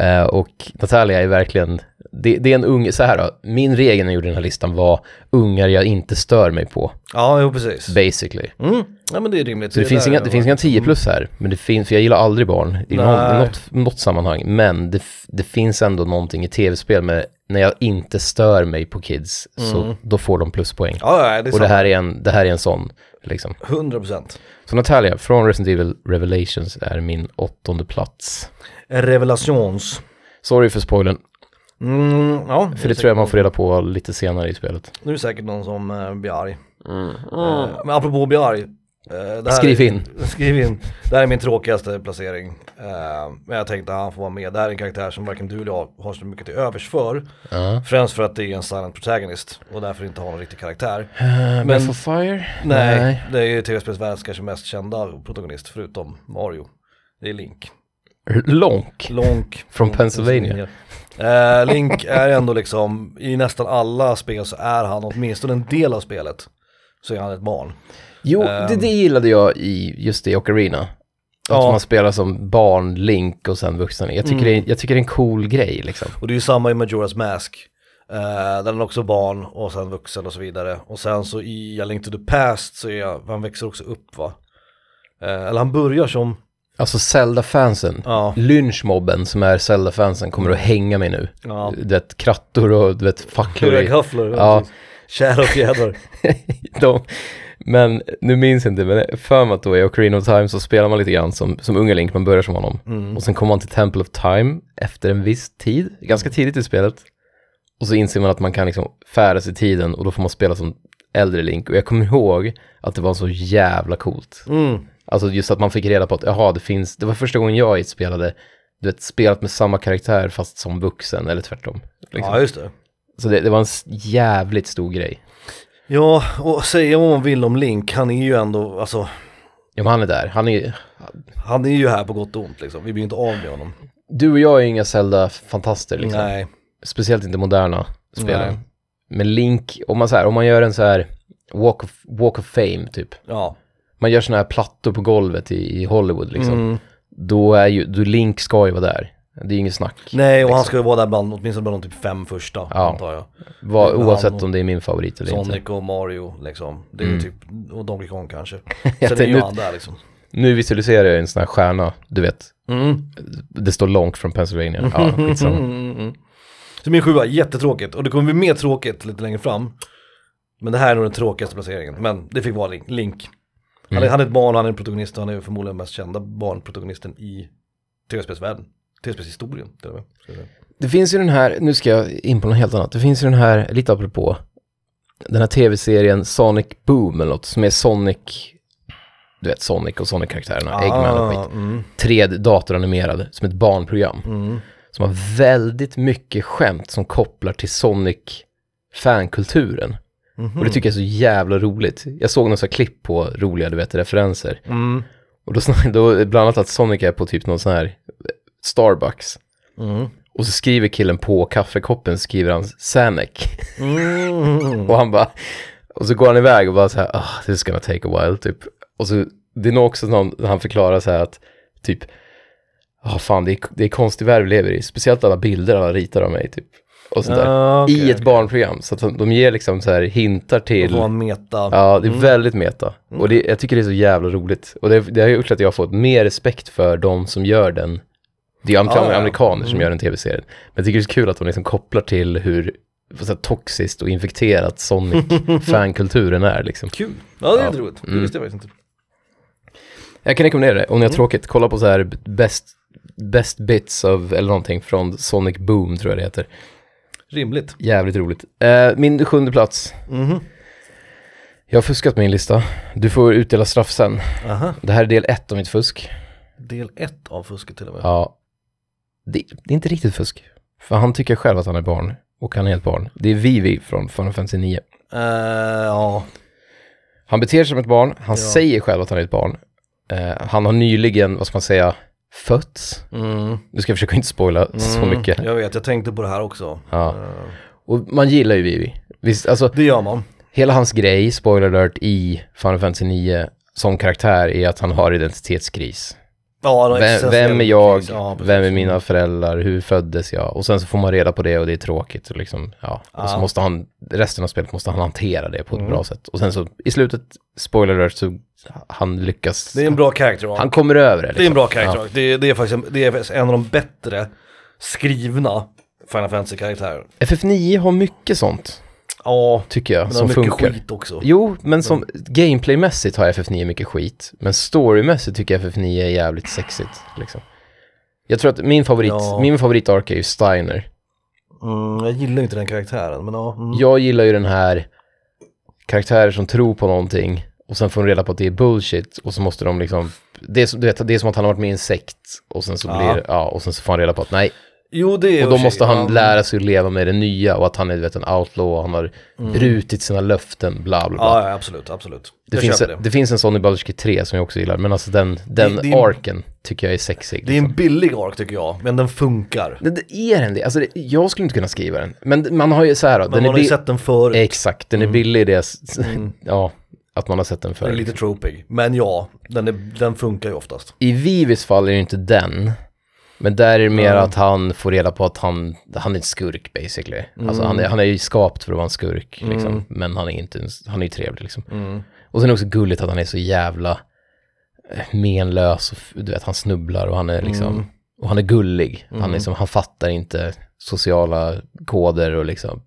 S2: Eh, och Natalia är verkligen, det, det är en ung, så här då, min regel när jag gjorde den här listan var ungar jag inte stör mig på,
S1: Ja, jo precis.
S2: basically.
S1: Mm. Ja men det är rimligt.
S2: Så det,
S1: är Mm.
S2: finns
S1: där
S2: inga,
S1: jag
S2: det
S1: var.
S2: finns inga 10 plus här, men det finns, för jag gillar aldrig barn i någon,
S1: Nej.
S2: något, något sammanhang. Men det, f- det finns ändå någonting i tv-spel med, när jag inte stör mig på kids, så då får de pluspoäng.
S1: Mm. Ja, ja, det är
S2: och det
S1: sant.
S2: här, är en, det här är en sån, liksom.
S1: 100%.
S2: Så Natalia, från Resident Evil Revelations är min åttonde plats.
S1: Revelations.
S2: Sorry för spoilern,
S1: Mm, ja,
S2: för det tror jag man får reda på lite senare i spelet.
S1: nu är det säkert någon som eh, blir arg. Eh, men apropå att bli arg. eh, det här
S2: Skriv
S1: är-
S2: in.
S1: Skriv in. Det här är min tråkigaste placering. Eh, men jag tänkte att han får vara med. Det här är en karaktär som varken du eller jag har så mycket till övers för.
S2: Ja.
S1: Främst för att det är en silent protagonist och därför inte har någon riktig karaktär.
S2: Eh, Men, Breath of Fire?
S1: Nej, det är ju tv-spelsvärldens kanske mest kända protagonist förutom Mario. Det är Link.
S2: Lonk?
S1: Lonk.
S2: Från Pennsylvania.
S1: Eh, Link är ändå liksom, i nästan alla spel så är han åtminstone en del av spelet. Så är han ett barn.
S2: Jo, det, det gillade jag i just det, i Ocarina. Att
S1: Ja.
S2: man spelar som barn, Link och sen vuxen. Jag tycker, det, är- jag tycker det är en cool grej liksom.
S1: Och det är ju samma i Majora's Mask. Eh, där han också är barn och sen vuxen och så vidare. Och sen så i A Link to the Past så är han växer också upp va. Eh, eller han börjar som,
S2: Alltså Zelda-fansen,
S1: ja.
S2: lynchmobben som är Zelda-fansen kommer att hänga mig nu.
S1: ja.
S2: Du vet, krattor och du vet, facklor. i-
S1: Höghafflor,
S2: Ja.
S1: ja. precis. Tjära och fjädrar.
S2: De, men nu minns jag inte, men för mig att då i Ocarina of Time så spelar man lite grann som, som unga Link, man börjar som honom.
S1: Mm.
S2: Och sen kommer man till Temple of Time efter en viss tid,
S1: Mm.
S2: ganska tidigt i spelet. Och så inser man att man kan liksom färdas i tiden och då får man spela som äldre Link. Och jag kommer ihåg att det var så jävla coolt.
S1: Mm.
S2: Alltså just att man fick reda på att, jaha, det finns, det var första gången jag spelade, du vet, spelat med samma karaktär fast som vuxen eller tvärtom. Liksom.
S1: Ja just det.
S2: Så det, det var en s- jävligt stor grej.
S1: Ja, och säga vad man vill om Link, han är ju ändå, alltså,
S2: Ja, men han är där, han är
S1: han är ju här på gott och ont liksom. Vi blir ju inte av med honom.
S2: Du och jag är inga Zelda-fantaster liksom.
S1: Nej.
S2: Speciellt inte moderna spelare.
S1: Nej.
S2: Men Link, om man, så här, om man gör en så här walk of, walk of fame typ.
S1: Ja.
S2: Man gör såna här plattor på golvet i, i Hollywood liksom.
S1: Mm.
S2: Då är ju, då Link ska ju vara där. Det är inget snack.
S1: Nej, och han ska ju vara där bland, åtminstone bland de typ fem första,
S2: Liksom. Ja.
S1: antar jag.
S2: Var,
S1: Men han
S2: oavsett
S1: och-
S2: om det är min favorit eller inte.
S1: Sonic och Mario liksom. Det
S2: Mm.
S1: är ju typ, och Donkey Kong kanske.
S2: Jag
S1: Så det är ju
S2: tänkte-
S1: han där liksom.
S2: Nu visualiserar jag en sån här stjärna, du vet.
S1: Mm.
S2: Det står Lonk från Pennsylvania. Ja, skitsamma.
S1: Så min sjua, jättetråkigt. Och det kommer bli mer tråkigt lite längre fram. Men det här är nog den tråkigaste placeringen. Men det fick vara Link. Link. Han,
S2: Mm.
S1: är, han är ett barn, han är en protagonist och han är ju förmodligen den mest kända barnprotagonisten i tv-spelsvärlden. Tv-spelshistorien till och med. ska jag säga.
S2: Det finns ju den här, nu ska jag in på något helt annat. Det finns ju den här, lite apropå, den här tv-serien Sonic Boom eller något som är Sonic, du vet Sonic och Sonic-karaktärerna,
S1: Ah.
S2: Eggman och skit.
S1: mm,
S2: Tre datoranimerade, som ett barnprogram. Som har väldigt mycket skämt som kopplar till Sonic fankulturen. Och det tycker jag är så jävla roligt. Jag såg några så här klipp på roliga, du vet, referenser.
S1: mm,
S2: Och då, snack- då bland annat att Sonic är på typ någon sån här Starbucks.
S1: mm,
S2: Och så skriver killen på kaffekoppen, skriver han Sanec.
S1: mm.
S2: Och han bara, och så går han iväg och bara så här, ah, this is gonna take a while, typ. Och så, det är nog också någon, när han förklarar så här att, typ, ah fan, det är, det är konstig värld vi lever i, speciellt alla bilder alla ritar av mig, typ. Och sånt där.
S1: Ja, Ah, okej,
S2: I ett
S1: okej.
S2: barnprogram, så att de- de ger liksom så här hintar till...
S1: Det var en meta.
S2: Ja, det är väldigt meta. Och det, jag tycker det är så jävla roligt. Och det, det har gjort att jag har fått mer respekt för de som gör den. Det är ju
S1: Ja, ja.
S2: amerikaner som gör den tv-serien. Men jag tycker det är så kul att de liksom kopplar till hur vad så här, toxiskt och infekterat Sonic-fankulturen är. Liksom.
S1: Kul. Ja, Mm. det är
S2: Ja.
S1: lite roligt. Det visste jag faktiskt inte.
S2: Jag kan rekommendera det, om ni har tråkigt, kolla på så här best, best bits of, eller någonting från Sonic Boom tror jag det heter.
S1: Rimligt. Mhm.
S2: Jävligt roligt. Eh, min sjunde plats. Jag har fuskat min lista. Du får utdela straff sen.
S1: Aha.
S2: Det här är del ett av mitt fusk.
S1: Del 1 av fusket till och med.
S2: Ja. Det, det är inte riktigt fusk. För han tycker själv att han är barn. Och han är ett barn. Det är Vivi från Final Fantasy 9.
S1: Eh, ja.
S2: Han beter sig som ett barn. Han
S1: Ja.
S2: säger själv att han är ett barn. Eh, han har nyligen, vad ska man säga, fötts.
S1: Mm.
S2: Nu ska jag försöka inte spoila så
S1: Mm,
S2: mycket.
S1: Jag vet, jag tänkte på det här också.
S2: Ja.
S1: Eh,
S2: Och man gillar ju Vivi. Visst, alltså
S1: det gör man.
S2: hela hans grej, spoiler alert, i Final Fantasy 9 som karaktär är att han har identitetskris.
S1: Ja, det
S2: Vem,
S1: existerar
S2: vem är
S1: ju
S2: jag?
S1: precis. Ja, precis. Mm.
S2: Vem är mina föräldrar? Hur föddes jag? Och sen så får man reda på det och det är tråkigt. Och, liksom, ja. och så
S1: Ja.
S2: måste han, resten av spelet måste han hantera det på ett
S1: Mm.
S2: bra sätt. Och sen så i slutet, spoiler alert, så han lyckas.
S1: Det är en bra karaktär.
S2: han kommer över
S1: Det
S2: det.
S1: är en
S2: liksom.
S1: bra karaktär. Det, är- det är faktiskt en, det är faktiskt en av de bättre skrivna Final Fantasy-karaktärer.
S2: Ja. FF9 har mycket sånt,
S1: Ja,
S2: tycker jag,
S1: men det har
S2: som
S1: mycket
S2: funkar.
S1: skit också.
S2: Jo, men som gameplaymässigt har FF9 mycket skit. Men storymässigt tycker jag FF9 är jävligt sexigt. Liksom. Jag tror att min favorit,
S1: Ja.
S2: min favoritark är ju Steiner.
S1: Mm, jag gillar ju inte den karaktären, men ja. Mm.
S2: Jag gillar ju den här karaktärer som tror på någonting och sen får de reda på att det är bullshit och så måste de liksom, det är, som- du vet, det är som att han har varit med i en sekt och sen så
S1: Ja.
S2: blir ja, och sen så får han reda på att nej,
S1: Jo, det är
S2: och då
S1: okej.
S2: måste
S1: Ja,
S2: han lära sig att leva med det nya och att han är du vet, en outlaw och han har brutit sina löften, bla bla bla.
S1: Mm. Ja, ja, absolut, absolut.
S2: det,
S1: jag
S2: finns
S1: köper
S2: en,
S1: det.
S2: det. finns en sån i Baldur's Gate 3 som jag också gillar, men alltså den, den
S1: Det- det är-
S2: arken tycker jag är sexig.
S1: Det är en billig ark tycker jag, men Liksom. den funkar.
S2: det, det är den det, alltså det, jag skulle inte kunna skriva den. Men man har ju så här då,
S1: Men
S2: den
S1: man
S2: är
S1: har ju
S2: bi-
S1: sett den förut.
S2: Exakt, den är billig i det, s- ja, att man har sett den
S1: Den
S2: förr.
S1: är lite tropig, men ja, den, är, den funkar ju oftast.
S2: I Vivis fall är det ju inte den, men där är det mer att han får reda på att han, han är en skurk basically. Alltså han är, han är ju skapt för att vara en skurk, liksom. men han är, inte, en s- han är ju trevlig liksom. Och sen är det också gulligt att han är så jävla eh, menlös, och, f- du vet han snubblar och han är liksom, och han är gullig. Han, är som, han fattar inte sociala koder och liksom,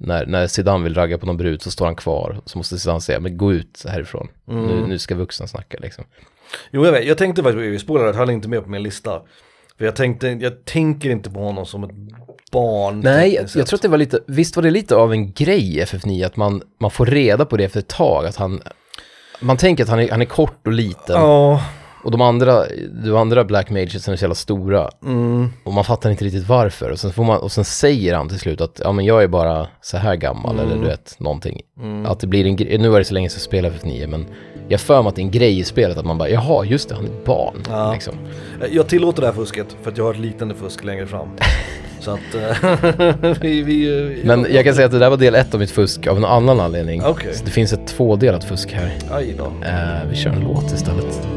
S2: när, när Zidane vill ragga på någon brud så står han kvar, så måste Zidane säga, men gå ut härifrån, nu, nu ska vuxna snacka liksom.
S1: Jo, jag vet, jag tänkte faktiskt på Evie Spoiler, att han är inte med på min lista. För jag tänkte, jag tänker inte på honom som ett barn.
S2: Nej, jag,
S1: tekniskt
S2: jag
S1: sett.
S2: tror att det var lite, visst var det lite av en grej i FF9 att man, man får reda på det efter ett tag, att han, man tänker att han är, han är kort och liten
S1: Ja,
S2: och de andra, de andra Black Magesen är så jävla stora
S1: Mm.
S2: och man fattar inte riktigt varför och sen, får man, och sen säger han till slut att ja men jag är bara så här gammal
S1: Mm.
S2: eller du vet någonting. Att det blir en grej, nu var det så länge sedan jag spelade FF9 men jag för mig att det är en grej i spelet att man bara jaha just det han är ett barn
S1: Ja.
S2: liksom.
S1: jag tillåter det här fusket för att jag har ett liknande fusk längre fram. Så att eh, vi, vi... eh,
S2: Men jag kan säga att det där var del ett av mitt fusk av en annan anledning.
S1: Okej.
S2: Så det finns ett tvådelat fusk här.
S1: Aj då.
S2: Eh, vi kör en låt istället.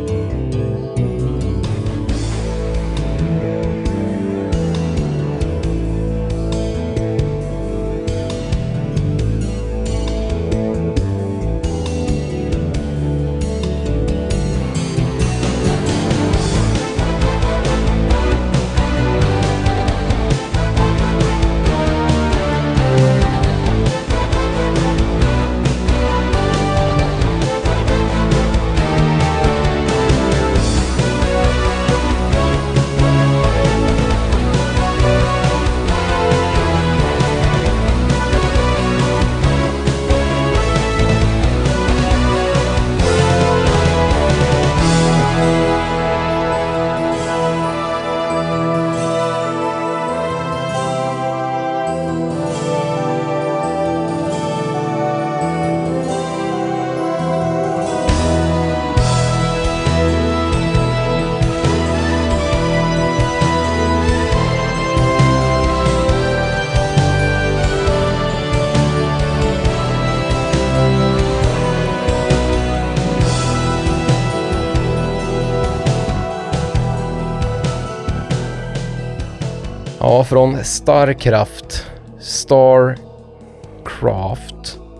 S2: Ja, från Starcraft, Starcraft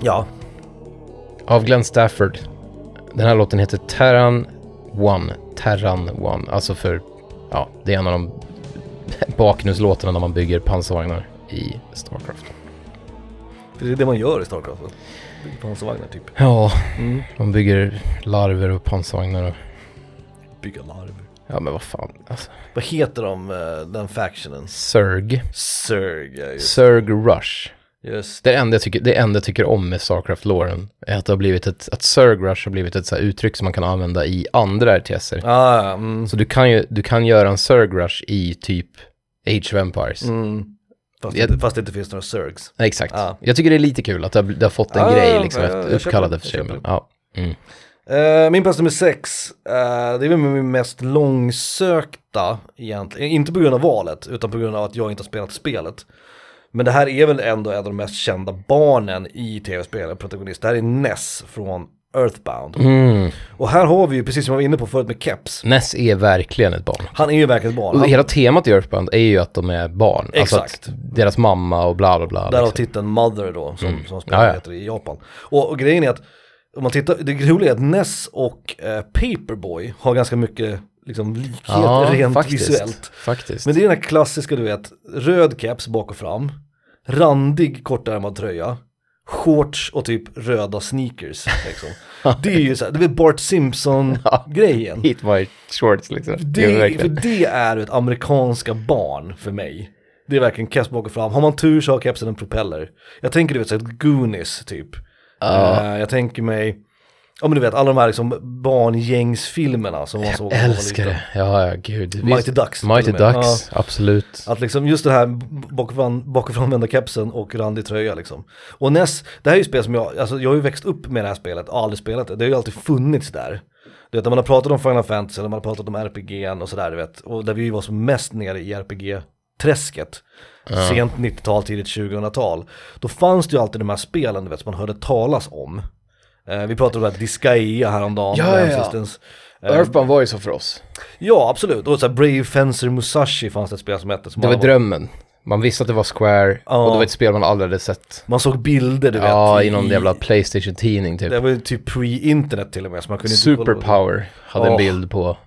S1: Ja.
S2: av Glenn Stafford. Den här låten heter Terran One, Terran One, alltså för, ja, det är en av de bakgrundslåtarna när man bygger pansarvagnar i Starcraft.
S1: För det är det man gör i alltså. Starcraft. va? Bygger Pansarvagnar typ.
S2: Ja, man bygger larver och pansarvagnar och,
S1: Bygga larver.
S2: ja men vad fan, alltså.
S1: Vad heter de, eh, den factionen?
S2: Zerg,
S1: Zerg, ja, just.
S2: Zerg Rush.
S1: Just
S2: Det enda jag tycker, det enda jag tycker om med Starcraft-låren är att det har blivit ett, att Surgrush har blivit ett så här uttryck som man kan använda i andra RTSer.
S1: Ah, ja, mm.
S2: Så du kan ju, du kan göra en Surgrush i typ Age of Empires.
S1: Mm. Fast,
S2: Jag-
S1: det, fast det inte finns några surgs.
S2: Nej, Exakt.
S1: Ja.
S2: Jag tycker det är lite kul att det har, bl- det har fått en
S1: Ja, ja,
S2: grej
S1: ja,
S2: liksom,
S1: ja,
S2: efter-
S1: jag köper
S2: uppkallad
S1: det,
S2: efter
S1: jag
S2: sig.
S1: köper
S2: Men, ja. Mm.
S1: Eh, min plats nummer sex, eh, det är väl min mest långsökta egentligen. Inte på grund av valet, utan på grund av att jag inte har spelat spelet. Men det här är väl ändå en av de mest kända barnen i tv-spelen, protagonist. Det här är Ness från Earthbound.
S2: Mm.
S1: Och här har vi ju, precis som jag var inne på förut med Keps,
S2: Ness är verkligen ett barn.
S1: han är ju verkligen ett barn.
S2: Och
S1: Han,
S2: hela temat i Earthbound är ju att de är barn.
S1: Exakt.
S2: Alltså att deras mamma och bla bla bla.
S1: Därav
S2: liksom.
S1: titeln Mother då, som, som
S2: Mm. Ja,
S1: spelet
S2: ja.
S1: heter i Japan. Och, och grejen är att, om man tittar, det roliga är att Ness och eh, Paperboy har ganska mycket liksom, likhet rent visuellt.
S2: Faktiskt.
S1: Men det är den här klassiska, du vet, röd keps bak och fram, randig kortärmad tröja, shorts och typ röda sneakers. Liksom. det är ju så här, det är Bart Simpson-grejen.
S2: Hit my shorts liksom. Det, är
S1: Det, för
S2: verkligen.
S1: det är ett amerikanska barn för mig. Det är verkligen keps bak och fram. Har man tur så har kepsen en propeller. Jag tänker du vet så här, Goonies typ.
S2: Ja.
S1: Eh, jag tänker mig, ja men du vet alla de här liksom barngängsfilmerna som man såg. när man var
S2: Älskar
S1: liten.
S2: det. Ja, ja, gud. Visst.
S1: Mighty Ducks.
S2: Mighty
S1: till och med.
S2: Ducks, absolut.
S1: Att liksom just det här bakifrån- bakifrånvända kepsen och randig tröja liksom. Och Ness, det här är ju spel som jag, alltså jag har ju växt upp med det här spelet, och aldrig spelat det, det har ju alltid funnits där. Du vet när man har pratat om Final Fantasy, när man har pratat om RPG'n och sådär du vet, och där vi ju var som mest nere i RPG-träsket. Sent 90-tal, tidigt 2000-tal. Då fanns det ju alltid de här spelen du vet, som man hörde talas om. Eh, vi pratade om det här Disgaea häromdagen.
S2: Ja,
S1: på
S2: ja, ja.
S1: Resistance. Eh,
S2: Earthbound var ju så för oss.
S1: ja, absolut. Och så här Brave Fencer Musashi fanns det ett spel som hette. Som
S2: Det var
S1: alla-
S2: drömmen. Man visste att det var Square
S1: Ja.
S2: och det var ett spel man aldrig hade sett.
S1: Man såg bilder du vet.
S2: Ja, i någon jävla typ- Playstation-tidning typ.
S1: Det var ju typ pre-internet till och med. Så man kunde inte kolla på det.
S2: Superpower hade en
S1: Ja.
S2: bild på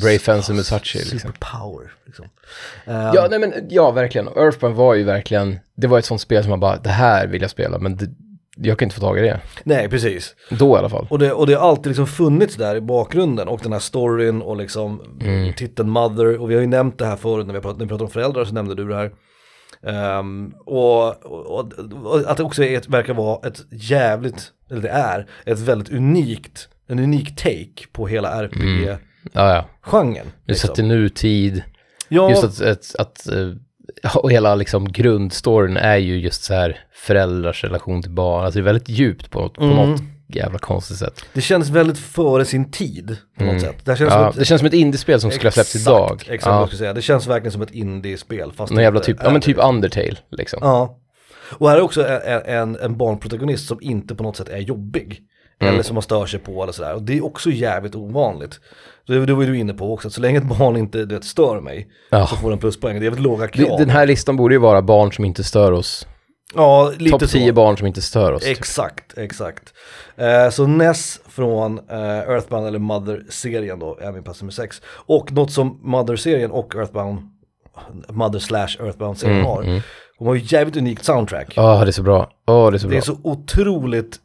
S2: Brave Fencer Musashi liksom.
S1: Superpower. Liksom.
S2: Ja, nej men ja, verkligen. Earthbound var ju verkligen, det var ett sånt spel som man bara, det här vill jag spela, men det, jag kan inte få tag i det.
S1: Nej, precis.
S2: Då i alla fall.
S1: Och det, och det har alltid liksom funnits där i bakgrunden och den här storyn och liksom
S2: Mm.
S1: titeln Mother och vi har ju nämnt det här förut när vi pratade, när vi pratade om föräldrar så nämnde du det här. Ehm, och, och, och att det också är ett, verkar vara ett jävligt, eller det är, ett väldigt unikt, en unik take på
S2: Mm.
S1: hela RPG-genren.
S2: Ja, ja. Du
S1: liksom.
S2: sätter nutid,
S1: Ja,
S2: just att, att, att eh, och hela liksom grundstoryn är ju just så här föräldrars relation till barn, alltså det är väldigt djupt på något, på
S1: Mm.
S2: något jävla konstigt sätt.
S1: det känns väldigt före sin tid på något sätt. Det här känns som
S2: Mm. Ja,
S1: ett,
S2: det känns som ett indiespel som skulle ha släppts
S1: Exakt,
S2: idag.
S1: Exakt vad
S2: ja,
S1: jag skulle säga. Det känns verkligen som ett indie-spel. Fast
S2: någon jävla
S1: inte
S2: typ,
S1: är
S2: ja men
S1: det.
S2: typ Undertale liksom.
S1: Ja. Och här är också en, en, en barnprotagonist som inte på något sätt är jobbig.
S2: Mm.
S1: Eller som man stör sig på eller sådär. Och det är också jävligt ovanligt. Det, det var ju du inne på också, att så länge ett barn inte du vet, stör mig
S2: Ja.
S1: så får den pluspoäng. Det är jävligt låga
S2: Det-
S1: krav.
S2: Den här listan borde ju vara barn som inte stör oss.
S1: ja, lite
S2: Topp 10
S1: så.
S2: barn som inte stör oss. typ.
S1: Exakt, exakt. Eh, så Ness från eh, Earthbound eller Mother-serien då är min plats nummer 6. Och något som Mother-serien och Earthbound, Mother slash Earthbound-serien
S2: Mm,
S1: har, de har ju jävligt unikt soundtrack.
S2: Åh, det är så bra. Åh, det är så
S1: Det
S2: bra.
S1: är så otroligt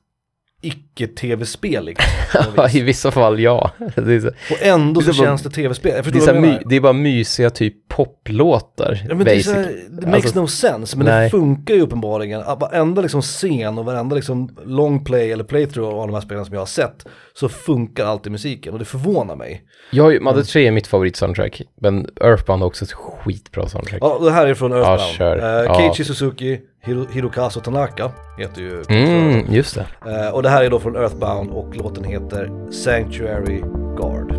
S1: icke-tv-speligt. på något vis.
S2: I vissa fall ja. Det är, så,
S1: och ändå så
S2: Det är bara-
S1: känns det tv-spel. Jag
S2: det, är
S1: förstår
S2: så
S1: vad
S2: här
S1: du
S2: my,
S1: menar.
S2: det är bara mysiga typ poplåtar.
S1: Ja, men det, är så
S2: basic.
S1: här, det makes
S2: Alltså,
S1: no sense, men det
S2: nej.
S1: funkar ju uppenbarligen. Att Varenda liksom scen och varenda liksom long play eller playthrough av alla de här spelen som jag har sett så funkar alltid musiken och det förvånar mig.
S2: Jag har ju,
S1: Mm.
S2: Mother 3 är mitt favoritsoundtrack, men Earthbound har också ett skitbra soundtrack.
S1: Ja, det här är från Earthbound.
S2: kör.
S1: Eh,
S2: Ja.
S1: Keiichi Suzuki, Hiro Hirokazu Tanaka heter ju
S2: Mm, just det.
S1: Eh, Och det här är då från Earthbound och låten heter Sanctuary Guard.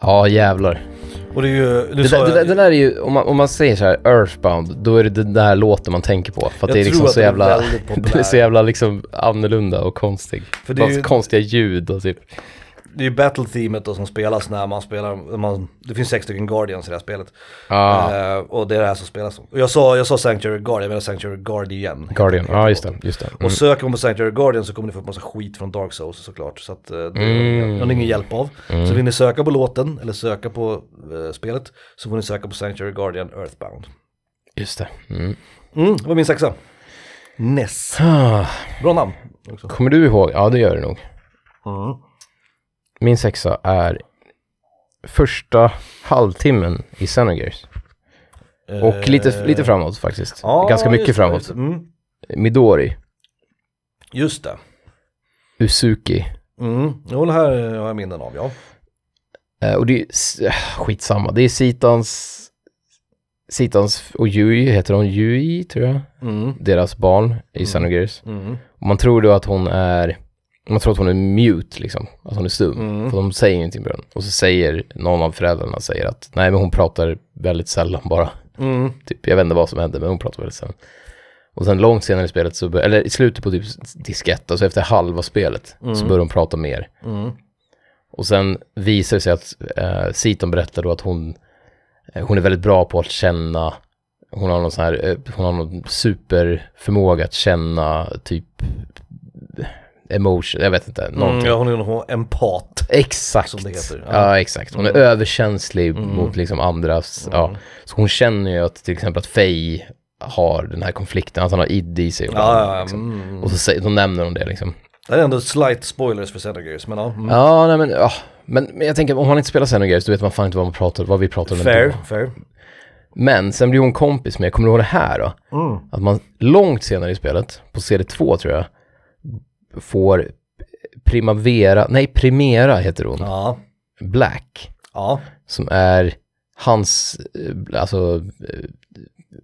S2: Ja, jävlar.
S1: Och det är ju, nu
S2: Det
S1: sa
S2: där, det,
S1: jag,
S2: där, det där är ju, om man, om man säger så här earthbound, då är det den där låten man tänker på. För att
S1: Jag
S2: det är liksom
S1: tror att
S2: så
S1: den är
S2: jävla,
S1: väldigt populär.
S2: det är så jävla liksom annorlunda och konstig.
S1: För det är
S2: Bara
S1: ju-
S2: Konstiga ljud och typ.
S1: det är ju battle-themet då som spelas när man spelar, när man, det finns sex stycken Guardians i det här spelet.
S2: Ja,
S1: Eh, och det är det här som spelas. Och jag sa, jag sa Sanctuary Guard, jag menar Sanctuary Guard igen.
S2: Guardian. Ja, just det. Just det. Mm.
S1: Och söker man på Sanctuary Guardian så kommer ni få en massa skit från Dark Souls såklart. Så att eh, det
S2: Mm.
S1: har ni ingen hjälp av. Så vill ni söka på låten eller söka på eh, spelet så får ni söka på Sanctuary Guardian Earthbound.
S2: Just det. Mm.
S1: Mm, det var min sexa. Ness.
S2: Ah,
S1: Bra namn. Också.
S2: Kommer du ihåg? Ja, det gör du nog.
S1: Mm.
S2: Min sexa är första halvtimmen i Xenogears. Och lite,
S1: Eh,
S2: lite framåt faktiskt.
S1: ja,
S2: Ganska mycket
S1: just det,
S2: framåt.
S1: Just, det. mm,
S2: Midori,
S1: just det.
S2: Uzuki.
S1: Mm. Jo, det här eh, har jag minnen av, ja.
S2: Eh, och det är s- eh, skitsamma. Det är Sitans... Sitans och Yui, heter hon Yui tror jag?
S1: Mm.
S2: Deras barn i Xenogears.
S1: Mm.
S2: Och Man tror då att hon är... Man tror att hon är mute liksom, att hon är stum.
S1: Mm.
S2: För de säger ingenting på den. Och så säger någon av föräldrarna säger att nej men hon pratar väldigt sällan bara.
S1: Mm.
S2: Typ, jag vet inte vad som hände, men hon pratade väldigt sen. Och sen långt senare i spelet, så bör, eller i slutet på typ diskett, alltså efter halva spelet, så börjar hon prata mer.
S1: Mm.
S2: Och sen visar det sig att eh, Siton berättar då att hon, eh, hon är väldigt bra på att känna, hon har någon sån här, eh, hon har någon superförmåga att känna typ emotion, jag vet inte, någonting.
S1: Mm. Ja, hon är någon empat.
S2: Exakt.
S1: Som det heter,
S2: Ja.
S1: ja. Mm.
S2: exakt. Hon är överkänslig mot liksom andras. Ja. Så hon känner ju att till exempel att Faye har den här konflikten, att han har id i sig. Och,
S1: Ja, ja, ja.
S2: liksom.
S1: Mm.
S2: och så, säger- så nämner hon det liksom.
S1: Det är ändå slight spoilers för Xenogears, men ja. Mm.
S2: Ja, nej men, ja. Men, men jag tänker om han inte spelar Xenogears, då vet man fan inte vad, man pratar, vad vi pratar om
S1: Fair,
S2: ändå.
S1: fair.
S2: Men sen blir hon kompis med, kommer du ihåg det här då?
S1: Mm.
S2: Att man långt senare i spelet, på CD2 tror jag, får Primavera, nej Primera heter hon,
S1: Ja,
S2: Black.
S1: ja.
S2: som är hans, eh, alltså, eh,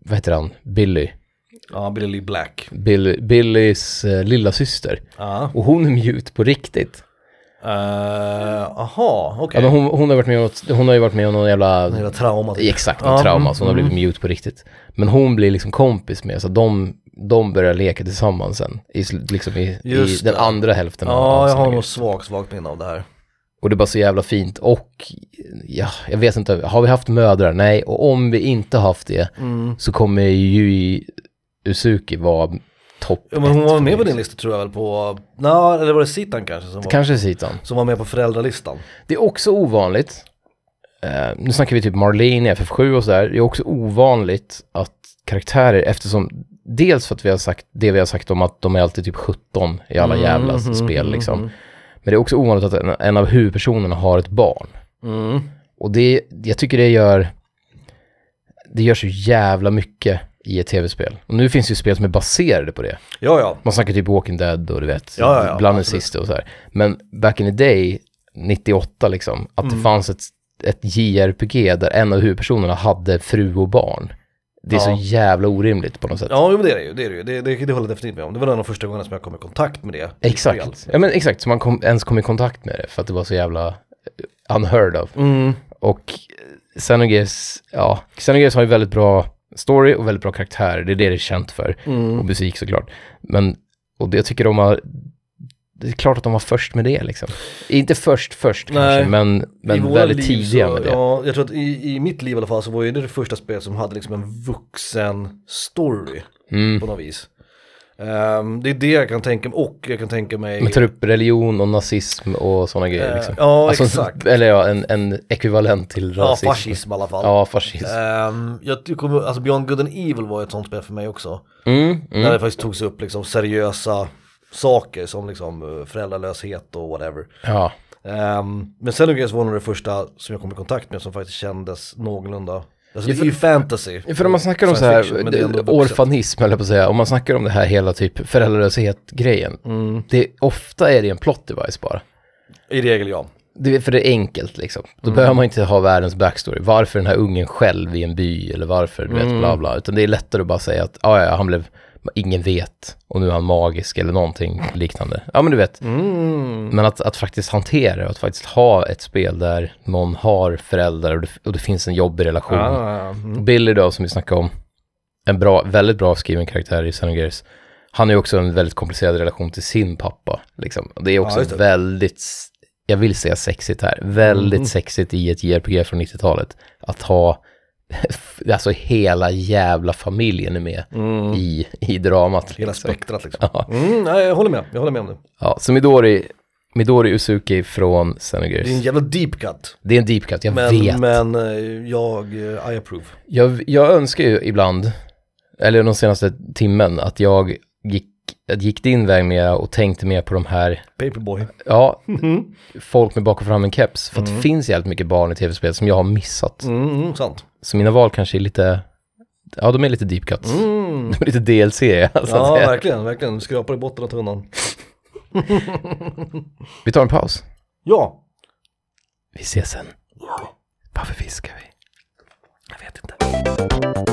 S2: vad heter han, Billy.
S1: Ja, Billy Lee Black.
S2: Bill, Billys eh, lilla syster.
S1: Ja.
S2: Och hon är mute på riktigt.
S1: Eh, Aha, okej.
S2: Ja, men hon, hon, har varit med om något, hon har ju varit med om någon jävla,
S1: Hela traumat.
S2: exakt, någon
S1: Ja,
S2: trauma,
S1: mm,
S2: så hon har blivit mute på riktigt. Men hon blir liksom kompis med, så de, de börjar leka tillsammans sen. I, sl- liksom i, i
S1: Just
S2: den
S1: det.
S2: andra hälften av- av
S1: Ja, jag har
S2: serien.
S1: nog svagt, svagt minne av det här.
S2: Och det är bara så jävla fint. Och ja, jag vet inte, har vi haft mödrar? Nej, och om vi inte haft det
S1: Mm.
S2: så kommer Yui Uzuki vara topp
S1: Ja, men hon
S2: ett
S1: var
S2: för
S1: med på
S2: mig.
S1: din lista tror jag väl på, Nå, eller var det Sitan kanske som var,
S2: Kanske Sitan.
S1: som var med på föräldralistan?
S2: Det är också ovanligt, eh, nu snackar vi typ Marlene i FF7 och sådär, det är också ovanligt att karaktärer, eftersom dels för att vi har sagt det vi har sagt om att de är alltid typ 17 i alla jävla spel liksom. Men det är också ovanligt att en, en av huvudpersonerna har ett barn.
S1: Mm.
S2: Och det, jag tycker det gör, det gör så jävla mycket i ett tv-spel. Och nu finns det ju spel som är baserade på det.
S1: Ja, ja.
S2: Man snackar typ Walking Dead och du vet,
S1: Ja, ja, ja,
S2: bland den
S1: absolut.
S2: sista och så här. Men back in the day, 98 liksom, att
S1: Mm.
S2: det fanns ett, ett JRPG där en av huvudpersonerna hade fru och barn. Det är
S1: Ja.
S2: så jävla orimligt på något sätt.
S1: Ja, jo, men det är det ju. Det, är det, ju. det, det, det håller jag definitivt med om. Det var en av de första gångerna som jag kom i kontakt med det. i spel.
S2: Exakt. Ja men exakt, så man kom, ens kom i kontakt med det för att det var så jävla eh, unheard of.
S1: Mm.
S2: Och eh, Xenogears, ja, Xenogears har ju väldigt bra story och väldigt bra karaktärer, det är det det är känt för.
S1: Mm.
S2: Och musik såklart. Men, och det jag tycker de har, det är klart att de var först med det liksom. Inte först först
S1: Nej.
S2: kanske, men,
S1: I
S2: men
S1: våra
S2: väldigt
S1: liv
S2: tidiga
S1: så,
S2: med det.
S1: Ja, jag tror att i, i mitt liv i alla fall så var ju det det första spelet som hade liksom en vuxen story
S2: Mm.
S1: på något vis. Ehm, det är det jag kan tänka mig och jag kan tänka mig...
S2: Man tar upp religion och nazism och sådana grejer
S1: Eh,
S2: liksom.
S1: ja, exakt.
S2: Eller ja, en, en ekvivalent till
S1: ja,
S2: rasism.
S1: fascism i alla fall.
S2: Ja, fascism.
S1: Ehm, jag jag kommer, alltså Beyond Good and Evil var ju ett sånt spel för mig också.
S2: Mm,
S1: Där
S2: mm.
S1: det faktiskt togs upp liksom seriösa saker som liksom eh, föräldralöshet och whatever.
S2: Ja.
S1: Ehm, men Xenogears var nog det första som jag kom i kontakt med som faktiskt kändes någorlunda. Alltså
S2: Ja,
S1: det är ju fantasy.
S2: För om man snackar om så
S1: Science
S2: här, eh,
S1: fiction, men det är ändå vuxet.
S2: orfanism eller på att säga, om man snackar om det här hela typ föräldralöshet-grejen,
S1: Mm.
S2: det, ofta är det en plot device bara.
S1: I regel ja.
S2: Det, är- för det är enkelt liksom. Då
S1: Mm.
S2: behöver man inte ha världens backstory.
S1: Mm.
S2: Varför den här ungen själv i en by eller varför, du vet, bla bla. Utan det är lättare att bara säga att, ah, ja, ja, han blev men ingen vet om nu är han magisk eller någonting liknande. Ja, men du vet.
S1: Mm.
S2: Men att, att faktiskt hantera det, och att faktiskt ha ett spel där någon har föräldrar och det, och det finns en jobbig relation.
S1: Ah, mm.
S2: Billy då, som vi snackade om, en bra, väldigt bra skriven karaktär i Sun Gears. Han har ju också en väldigt komplicerad relation till sin pappa. Liksom. Det är också
S1: just det.
S2: väldigt, jag vill säga sexigt här, väldigt
S1: Mhm.
S2: sexigt i ett JRPG från 90-talet. Att ha, alltså hela jävla familjen är med
S1: Mm.
S2: i, i dramat.
S1: Hela
S2: liksom.
S1: spektrat liksom.
S2: Ja.
S1: Mm, nej, jag håller med, jag håller med om det.
S2: Ja, så Midori, Midori Uzuki från Sun Gears.
S1: Det är en jävla deep cut.
S2: Det är en deep cut, jag vet.
S1: Men, men eh, jag, eh, I approve.
S2: Jag, jag önskar ju ibland, eller de senaste timmen, att jag gick, att gick din väg mer och tänkte mer på de här,
S1: Paperboy.
S2: ja,
S1: Mm,
S2: folk med bak och fram en keps. För att det finns jävligt mycket barn i tv-spel som jag har missat.
S1: Mhm. mm, sant.
S2: Så mina val kanske är lite, ja de är lite deep cuts.
S1: Mm.
S2: De är lite DLC, alltså.
S1: Ja,
S2: att säga.
S1: verkligen, verkligen. Skrapar i botten av tunnan.
S2: Vi tar en paus.
S1: Ja,
S2: Vi ses sen. Varför fiskar vi?
S1: jag vet inte.